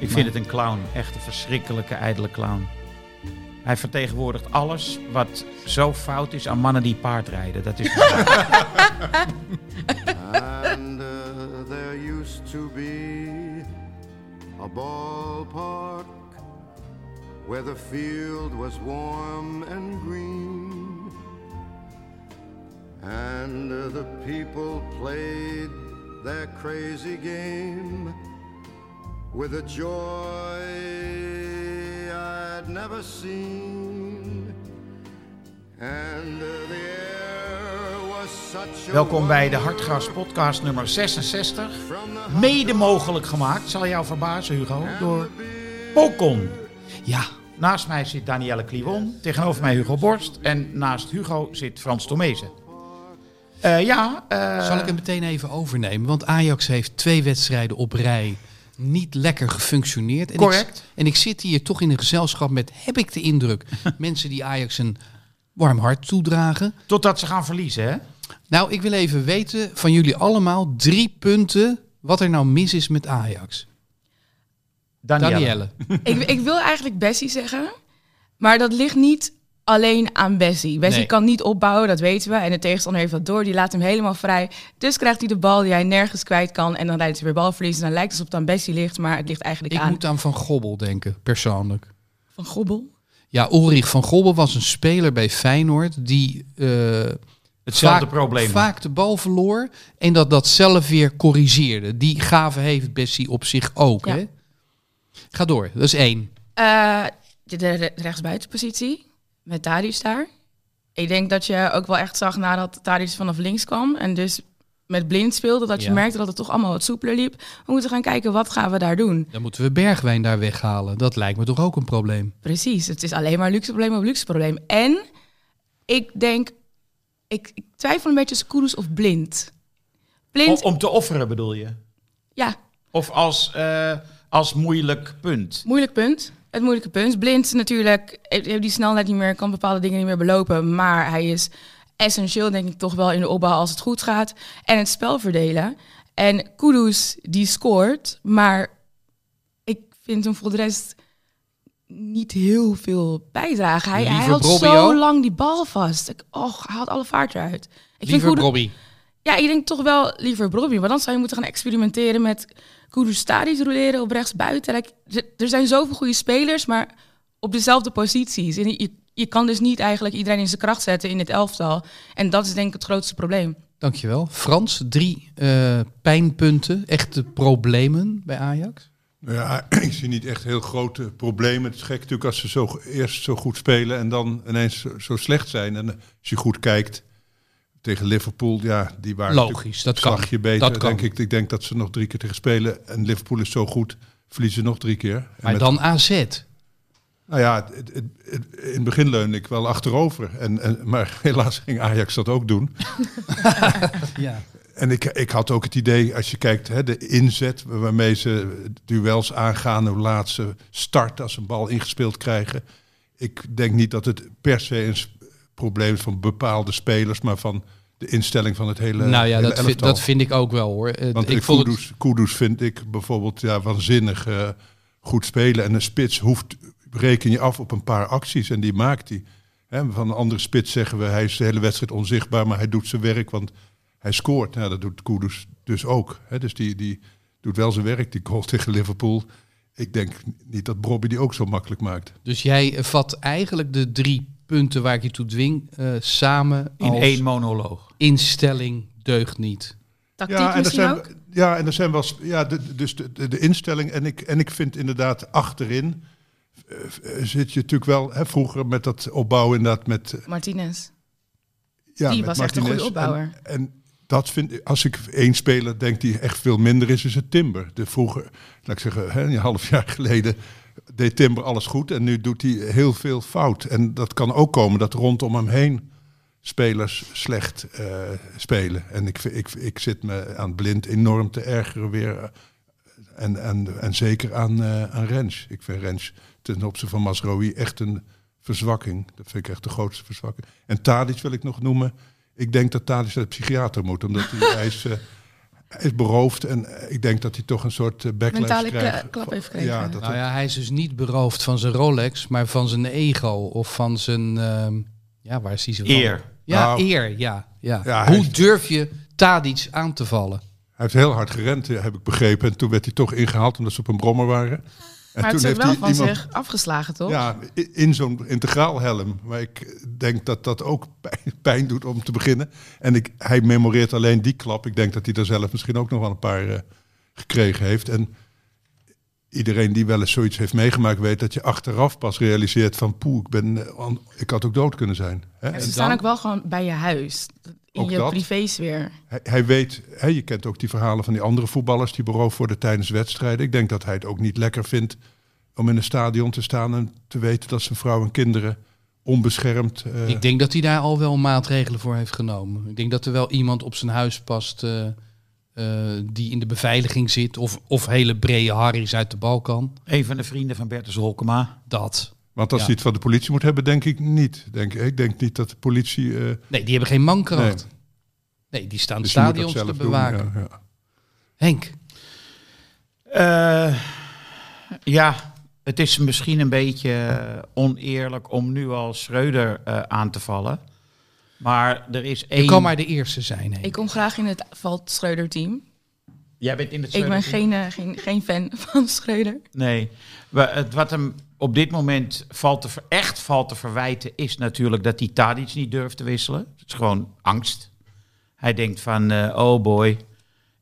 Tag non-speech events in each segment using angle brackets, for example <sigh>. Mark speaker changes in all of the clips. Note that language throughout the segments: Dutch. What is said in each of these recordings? Speaker 1: Ik vind het een clown, echt een verschrikkelijke, ijdele clown. Hij vertegenwoordigt alles wat zo fout is aan mannen die paardrijden. Dat is
Speaker 2: And uh, there used to be a ballpark where the field was warm and green. And uh, the people played their crazy game with a joy I'd never seen. And uh, the air was such a
Speaker 1: <laughs> Welkom bij de Hartgras podcast nummer 66. Mede mogelijk gemaakt, zal jou verbazen Hugo, door Pokon. Ja, naast mij zit Danielle Kliwon, tegenover mij Hugo Borst en naast Hugo zit Frans Tomezen. Eh, ja, eh,
Speaker 3: Zal ik hem meteen even overnemen? Want Ajax heeft twee wedstrijden op rij niet lekker gefunctioneerd. En
Speaker 1: Correct.
Speaker 3: Ik, en ik zit hier toch in een gezelschap met, heb ik de indruk,
Speaker 1: <laughs>
Speaker 3: mensen die Ajax een warm hart toedragen.
Speaker 1: totdat ze gaan verliezen hè?
Speaker 3: Nou, ik wil even weten van jullie allemaal drie punten wat er nou mis is met Ajax.
Speaker 1: Danielle.
Speaker 3: Danielle.
Speaker 4: ik, ik wil eigenlijk Bessie zeggen, maar dat ligt niet alleen aan Bessie. Bessie
Speaker 3: Nee.
Speaker 4: kan niet opbouwen, dat weten we. En de tegenstander heeft dat door, die laat hem helemaal vrij. Dus krijgt hij de bal die hij nergens kwijt kan. En dan rijdt hij weer balverlies. En dan lijkt het alsof het aan Bessie ligt, maar het ligt eigenlijk
Speaker 3: Ik
Speaker 4: aan
Speaker 3: moet aan Van Gobbel denken, persoonlijk.
Speaker 4: Van Gobbel.
Speaker 3: Ja, Ulrich van Gobbel was een speler bij Feyenoord die eh,
Speaker 1: Hetzelfde
Speaker 3: vaak,
Speaker 1: probleem.
Speaker 3: Vaak de bal verloor en dat dat zelf weer corrigeerde. Die gave heeft Bessie op zich ook.
Speaker 4: Ja.
Speaker 3: Hè? Ga door, dat is één.
Speaker 4: Eh, de, de re- rechtsbuitenpositie met Tadius daar. Ik denk dat je ook wel echt zag nadat Tadius vanaf links kwam en dus met blind speelde, dat je
Speaker 3: Ja.
Speaker 4: merkte dat het toch allemaal wat soepeler liep. We moeten gaan kijken, wat gaan we daar doen?
Speaker 3: Dan moeten we Bergwijn daar weghalen. Dat lijkt me toch ook een probleem.
Speaker 4: Precies, het is alleen maar luxe probleem op luxe probleem. En ik denk, ik, ik twijfel een beetje tussen Koeders of Blind. Blind,
Speaker 1: O- om te offeren bedoel je?
Speaker 4: ja,
Speaker 1: Of als, eh, als moeilijk punt?
Speaker 4: moeilijk punt. Het moeilijke punt. Blind natuurlijk, heeft heeft die snelheid niet meer, kan bepaalde dingen niet meer belopen. Maar hij is essentieel denk ik toch wel in de opbouw als het goed gaat. En het spel verdelen. En Kudus die scoort, maar ik vind hem voor de rest niet heel veel bijdragen. Hij, hij
Speaker 3: Liever
Speaker 4: houdt
Speaker 3: Brobbio?
Speaker 4: zo lang die bal vast. Ik, och, hij haalt alle vaart eruit. Ik
Speaker 3: Liever
Speaker 4: Kudus-
Speaker 3: Bobby.
Speaker 4: Ja, ik denk toch wel liever Brobbey. Maar dan zou je moeten gaan experimenteren met Kudus Stadis roleren op rechts buiten. er zijn zoveel goede spelers, maar op dezelfde posities. En je, je kan dus niet eigenlijk iedereen in zijn kracht zetten in het elftal. En dat is denk ik het grootste probleem.
Speaker 3: Dankjewel. Frans, drie eh, pijnpunten, echte problemen bij Ajax.
Speaker 5: Nou Ja, <clears throat> ik zie niet echt heel grote problemen. Het is gek natuurlijk als ze zo, go- eerst zo goed spelen en dan ineens zo, zo slecht zijn. En eh, als je goed kijkt tegen Liverpool, ja, die waren
Speaker 3: Logisch,
Speaker 5: natuurlijk
Speaker 3: dat
Speaker 5: een
Speaker 3: kan.
Speaker 5: slagje beter.
Speaker 3: Dat kan.
Speaker 5: Denk ik, ik denk dat ze nog drie keer tegen spelen en Liverpool is zo goed, verliezen nog drie keer. En
Speaker 3: Maar
Speaker 5: met-
Speaker 3: dan AZ.
Speaker 5: Nou ja, het- het- het- het- in het begin leunde ik wel achterover. En, en, maar <laughs> helaas ging Ajax dat ook doen.
Speaker 3: Ja.
Speaker 5: En ik, ik had ook het idee, als je kijkt, hè, de inzet waarmee ze duels aangaan, hoe laat ze starten als ze een bal ingespeeld krijgen. Ik denk niet dat het per se een s- probleem is van bepaalde spelers, maar van de instelling van het hele
Speaker 3: nou ja,
Speaker 5: hele
Speaker 3: dat, vind,
Speaker 5: elftal.
Speaker 3: dat vind ik ook wel hoor. Eh,
Speaker 5: Want
Speaker 3: ik
Speaker 5: ik
Speaker 3: vond het-
Speaker 5: Kudus, Kudus vind ik bijvoorbeeld ja, waanzinnig eh, goed spelen. En een spits hoeft, reken je af op een paar acties en die maakt hij. Hè, van een andere spits zeggen we, hij is de hele wedstrijd onzichtbaar, maar hij doet zijn werk, want hij scoort. Nou, dat doet Kudus dus ook. Hè. Dus die, die doet wel zijn werk, die goal <laughs> tegen Liverpool. Ik denk niet dat Bobby die ook zo makkelijk maakt.
Speaker 3: Dus jij eh, vat eigenlijk de drie punten waar ik je toe dwing eh, samen
Speaker 1: In
Speaker 3: als
Speaker 1: één monoloog.
Speaker 3: instelling deugt niet.
Speaker 4: Tactiek
Speaker 5: en er
Speaker 4: misschien
Speaker 5: zijn,
Speaker 4: ook?
Speaker 5: Ja, en er zijn wel. sp- Ja, de, dus de, de, de instelling. En ik, en ik vind inderdaad achterin. eh, eh, zit je natuurlijk wel. Hè, vroeger met dat opbouwen, inderdaad. Met, eh,
Speaker 4: Martinez.
Speaker 5: ja,
Speaker 4: Die
Speaker 5: met
Speaker 4: was echt een
Speaker 5: Martinez.
Speaker 4: goede opbouwer.
Speaker 5: En, en dat vind ik. Als ik één speler denk die echt veel minder is, is het Timber. De vroeger, laat ik zeggen, hè, een half jaar geleden. deed Timber alles goed. En nu doet hij heel veel fout. En dat kan ook komen dat rondom hem heen. Spelers slecht eh, spelen. En ik, ik, ik zit me aan blind enorm te ergeren weer eh, en, en, en zeker aan, eh, aan Rens. Ik vind Rens ten opzichte van Masrowi echt een verzwakking. Dat vind ik echt de grootste verzwakking. En Tadic wil ik nog noemen. Ik denk dat Tadic naar de psychiater moet, omdat hij, hij is... eh, hij is beroofd en eh, ik denk dat hij toch een soort eh, backlash
Speaker 4: Mentale kla-
Speaker 5: krijgt.
Speaker 4: klap heeft gekregen.
Speaker 5: Ja, dat
Speaker 3: Nou ja, hij is dus niet beroofd van zijn Rolex, maar van zijn ego of van zijn... ehm, ja, waar is hij zo van?
Speaker 1: Eer.
Speaker 3: Ja,
Speaker 5: Nou,
Speaker 3: eer, ja. ja.
Speaker 5: Ja, hij
Speaker 3: Hoe
Speaker 5: is-
Speaker 3: durf je Tadic aan te vallen?
Speaker 5: Hij heeft heel hard gerend, eh, heb ik begrepen. En toen werd hij toch ingehaald omdat ze op een brommer waren. En
Speaker 4: Maar
Speaker 5: toen
Speaker 4: het is ook
Speaker 5: heeft
Speaker 4: wel
Speaker 5: hij
Speaker 4: van
Speaker 5: iemand-
Speaker 4: zich afgeslagen, toch?
Speaker 5: Ja, i- in zo'n integraalhelm. Maar ik denk dat dat ook <laughs> pijn- pijn doet om te beginnen. En ik, hij memoreert alleen die klap. Ik denk dat hij daar zelf misschien ook nog wel een paar eh, gekregen heeft. En iedereen die wel eens zoiets heeft meegemaakt weet dat je achteraf pas realiseert van poeh, ik, ben, eh, an- ik had ook dood kunnen zijn. Hè?
Speaker 4: En
Speaker 5: En
Speaker 4: ze
Speaker 3: dan-
Speaker 4: staan ook wel gewoon bij je huis. In
Speaker 5: Ook
Speaker 4: je
Speaker 5: dat.
Speaker 4: privésfeer.
Speaker 5: hij, hij weet, hè, je kent ook die verhalen van die andere voetballers die beroofd worden tijdens wedstrijden. Ik denk dat hij het ook niet lekker vindt om in een stadion te staan en te weten dat zijn vrouw en kinderen onbeschermd... eh,
Speaker 3: Ik denk dat hij daar al wel maatregelen voor heeft genomen. Ik denk dat er wel iemand op zijn huis past eh, eh, die in de beveiliging zit. Of, of hele brede Harry's uit de Balkan.
Speaker 1: Een van de vrienden van Bertus Holkema.
Speaker 3: Dat.
Speaker 5: Want als
Speaker 3: Ja.
Speaker 5: je iets van de politie moet hebben, denk ik niet. Denk, ik denk niet dat de politie. eh,
Speaker 3: Nee, die hebben geen mankracht. Nee, die staan
Speaker 5: dus je moet dat
Speaker 3: stadions te
Speaker 5: zelf
Speaker 3: bewaken.
Speaker 5: Doen, ja, ja.
Speaker 3: Henk,
Speaker 1: Eh, ja, het is misschien een beetje eh, oneerlijk om nu al Schreuder eh, aan te vallen. Maar er is één...
Speaker 3: je kan maar de eerste zijn. Henk.
Speaker 4: Ik kom graag in het valt Schreuder-team.
Speaker 1: Jij bent in het
Speaker 4: Ik ben
Speaker 1: Schreuder-team?
Speaker 4: geen, eh, geen, geen fan <laughs> van Schreuder.
Speaker 1: Nee, Wa- het- wat hem op dit moment valt te ver- echt valt te verwijten is natuurlijk dat hij Tadic niet durft te wisselen. Het is gewoon angst. Hij denkt van, eh, oh boy,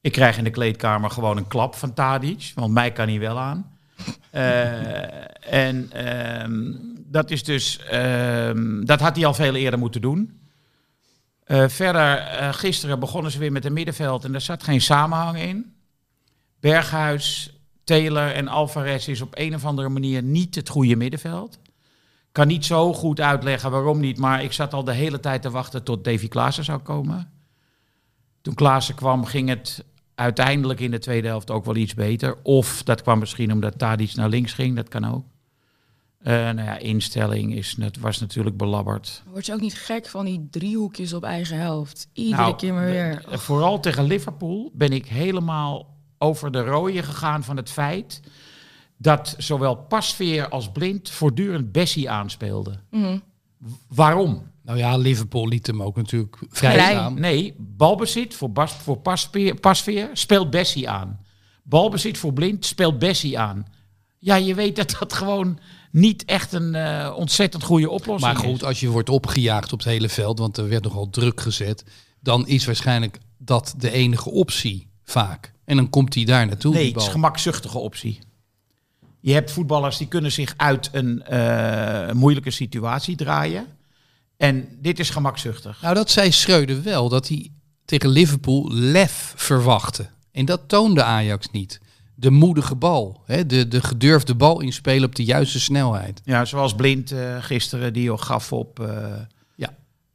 Speaker 1: ik krijg in de kleedkamer gewoon een klap van Tadic, want mij kan hij wel aan. <laughs> Eh, en ehm, dat is dus, ehm, dat had hij al veel eerder moeten doen. Eh, verder, eh, gisteren begonnen ze weer met het middenveld en daar zat geen samenhang in. Berghuis, Taylor en Alvarez is op een of andere manier niet het goede middenveld. Kan niet zo goed uitleggen waarom niet, maar ik zat al de hele tijd te wachten tot Davy Klaassen zou komen. Toen Klaassen kwam, ging het uiteindelijk in de tweede helft ook wel iets beter. Of dat kwam misschien omdat Tadic naar links ging, dat kan ook. Eh, nou ja, instelling is, net- was natuurlijk belabberd.
Speaker 4: Word je ook niet gek van die driehoekjes op eigen helft? Iedere
Speaker 1: Nou,
Speaker 4: keer maar weer.
Speaker 1: Eh, Vooral tegen Liverpool ben ik helemaal over de rode gegaan van het feit dat zowel Pasveer als Blind voortdurend Bessie aanspeelden.
Speaker 4: Mhm.
Speaker 1: Waarom?
Speaker 3: Nou ja, Liverpool liet hem ook natuurlijk vrij
Speaker 4: Vrij.
Speaker 3: staan.
Speaker 1: Nee, balbezit voor, Bas, voor Pasveer, Pasveer speelt Bessie aan. Balbezit voor Blind speelt Bessie aan. Ja, je weet dat dat gewoon niet echt een eh, ontzettend goede oplossing
Speaker 3: Maar goed,
Speaker 1: is.
Speaker 3: als je wordt opgejaagd op het hele veld, want er werd nogal druk gezet, dan is waarschijnlijk dat de enige optie vaak. En dan komt hij daar naartoe.
Speaker 1: Nee,
Speaker 3: die
Speaker 1: het
Speaker 3: bal.
Speaker 1: is een gemakzuchtige optie. Je hebt voetballers die kunnen zich uit een eh, moeilijke situatie draaien. En dit is gemakzuchtig.
Speaker 3: Nou, dat zei Schreuder wel, dat hij tegen Liverpool lef verwachtte. En dat toonde Ajax niet. De moedige bal, hè, de, de gedurfde bal inspelen op de juiste snelheid.
Speaker 1: Ja, zoals Blind eh, gisteren die al gaf op, eh,
Speaker 3: Ja.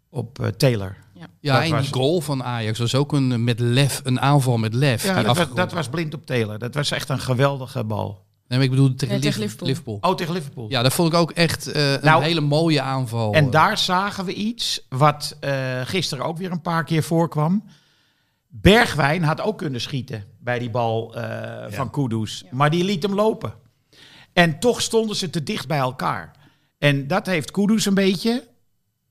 Speaker 1: op eh, Taylor.
Speaker 3: Ja,
Speaker 1: Dat was
Speaker 3: en die
Speaker 1: het.
Speaker 3: goal van Ajax was ook een, eh, met lef, een aanval met lef.
Speaker 1: Ja,
Speaker 3: die
Speaker 1: dat, was,
Speaker 3: afgerond-
Speaker 1: dat was Blind op Taylor. Dat was echt een geweldige bal.
Speaker 3: Nee, maar ik bedoel tegen,
Speaker 4: Ja, tegen
Speaker 3: Liverpool.
Speaker 4: Liverpool.
Speaker 3: Liverpool.
Speaker 1: Oh, tegen Liverpool.
Speaker 3: Ja, dat vond ik ook echt eh, een
Speaker 1: Nou,
Speaker 3: hele mooie aanval. eh,
Speaker 1: En daar zagen we iets wat eh, gisteren ook weer een paar keer voorkwam. Bergwijn had ook kunnen schieten bij die bal eh, van Kudus. Maar die liet hem lopen. En toch stonden ze te dicht bij elkaar. En dat heeft Kudus een beetje.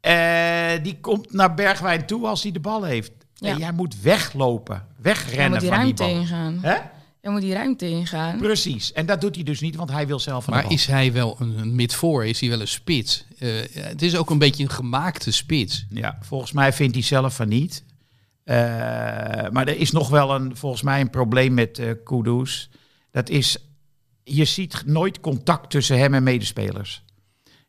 Speaker 1: Eh, die komt naar Bergwijn toe als hij de bal heeft.
Speaker 4: Ja.
Speaker 1: En jij moet weglopen,
Speaker 4: Daar
Speaker 1: wegrennen
Speaker 4: moet die
Speaker 1: van die
Speaker 4: ruimte
Speaker 1: bal.
Speaker 4: ingaan.
Speaker 1: Hè?
Speaker 4: Er moet die ruimte ingaan.
Speaker 1: Precies. En dat doet hij dus niet, want hij wil zelf een
Speaker 3: Maar is hij wel een, een mid-voor? Is hij wel een spits? Eh, het is ook een beetje een gemaakte spits.
Speaker 1: Ja, volgens mij vindt hij zelf van niet. Eh, maar er is nog wel een, volgens mij een probleem met eh Kudus. Dat is, je ziet nooit contact tussen hem en medespelers.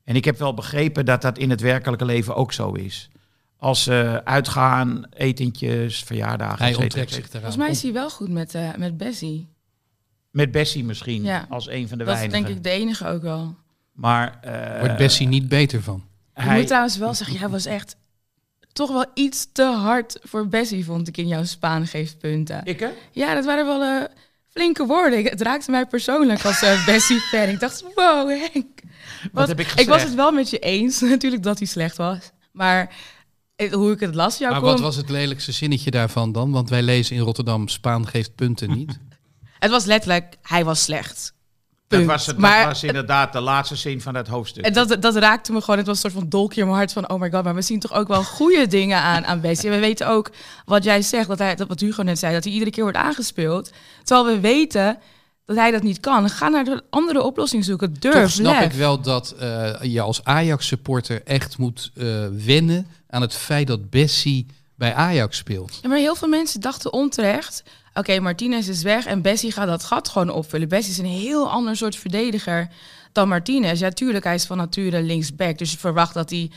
Speaker 1: En ik heb wel begrepen dat dat in het werkelijke leven ook zo is. Als ze uitgaan, etentjes, verjaardagen.
Speaker 3: Hij
Speaker 1: et cetera,
Speaker 3: onttrekt
Speaker 1: et
Speaker 3: zich
Speaker 1: cetera.
Speaker 3: eraan.
Speaker 4: Volgens mij is hij wel goed met, eh, met Bessie.
Speaker 1: Met Bessie misschien,
Speaker 4: Ja.
Speaker 1: als een van de
Speaker 4: Dat is
Speaker 1: weinigen.
Speaker 4: denk ik de enige ook wel.
Speaker 1: Maar eh,
Speaker 3: Wordt Bessie niet beter van.
Speaker 4: Ik
Speaker 1: hij-
Speaker 4: moet trouwens wel zeggen, jij was echt toch wel iets te hard voor Bessie, vond ik in jouw Spaan geeft punten.
Speaker 1: Ik, hè?
Speaker 4: Ja, dat waren wel eh, flinke woorden. Ik- Het raakte mij persoonlijk als
Speaker 1: <laughs>
Speaker 4: eh, Bessie-fan. Ik dacht, wow, Henk. Wat,
Speaker 1: heb ik
Speaker 4: Ik was
Speaker 1: gezegd?
Speaker 4: het wel met je eens, <laughs> natuurlijk, dat hij slecht was. Maar eh, hoe ik het las, jouw
Speaker 3: Maar wat
Speaker 4: column-
Speaker 3: was het lelijkste zinnetje daarvan dan? Want wij lezen in Rotterdam, Spaan geeft punten
Speaker 4: <laughs>
Speaker 3: niet.
Speaker 4: Het was letterlijk, hij was slecht.
Speaker 1: Dat
Speaker 4: Punt.
Speaker 1: was, het,
Speaker 4: maar
Speaker 1: dat was inderdaad de laatste zin van dat hoofdstuk.
Speaker 4: En dat, dat raakte me gewoon. Het was een soort van dolkje in mijn hart van... oh my god, maar we zien toch ook wel goede dingen aan, aan Bessie. En we weten ook wat jij zegt, dat hij, dat wat Hugo net zei... dat hij iedere keer wordt aangespeeld. Terwijl we weten dat hij dat niet kan. Ga naar de andere oplossing zoeken. Durf,
Speaker 3: Toch snap
Speaker 4: lef.
Speaker 3: ik wel dat eh, je als Ajax-supporter echt moet eh, wennen aan het feit dat Bessie bij Ajax speelt.
Speaker 4: Ja, maar heel veel mensen dachten onterecht... oké, Martinez is weg en Bessie gaat dat gat gewoon opvullen. Bessie is een heel ander soort verdediger dan Martinez. Ja, tuurlijk, hij is van nature linksback. Dus je verwacht dat hij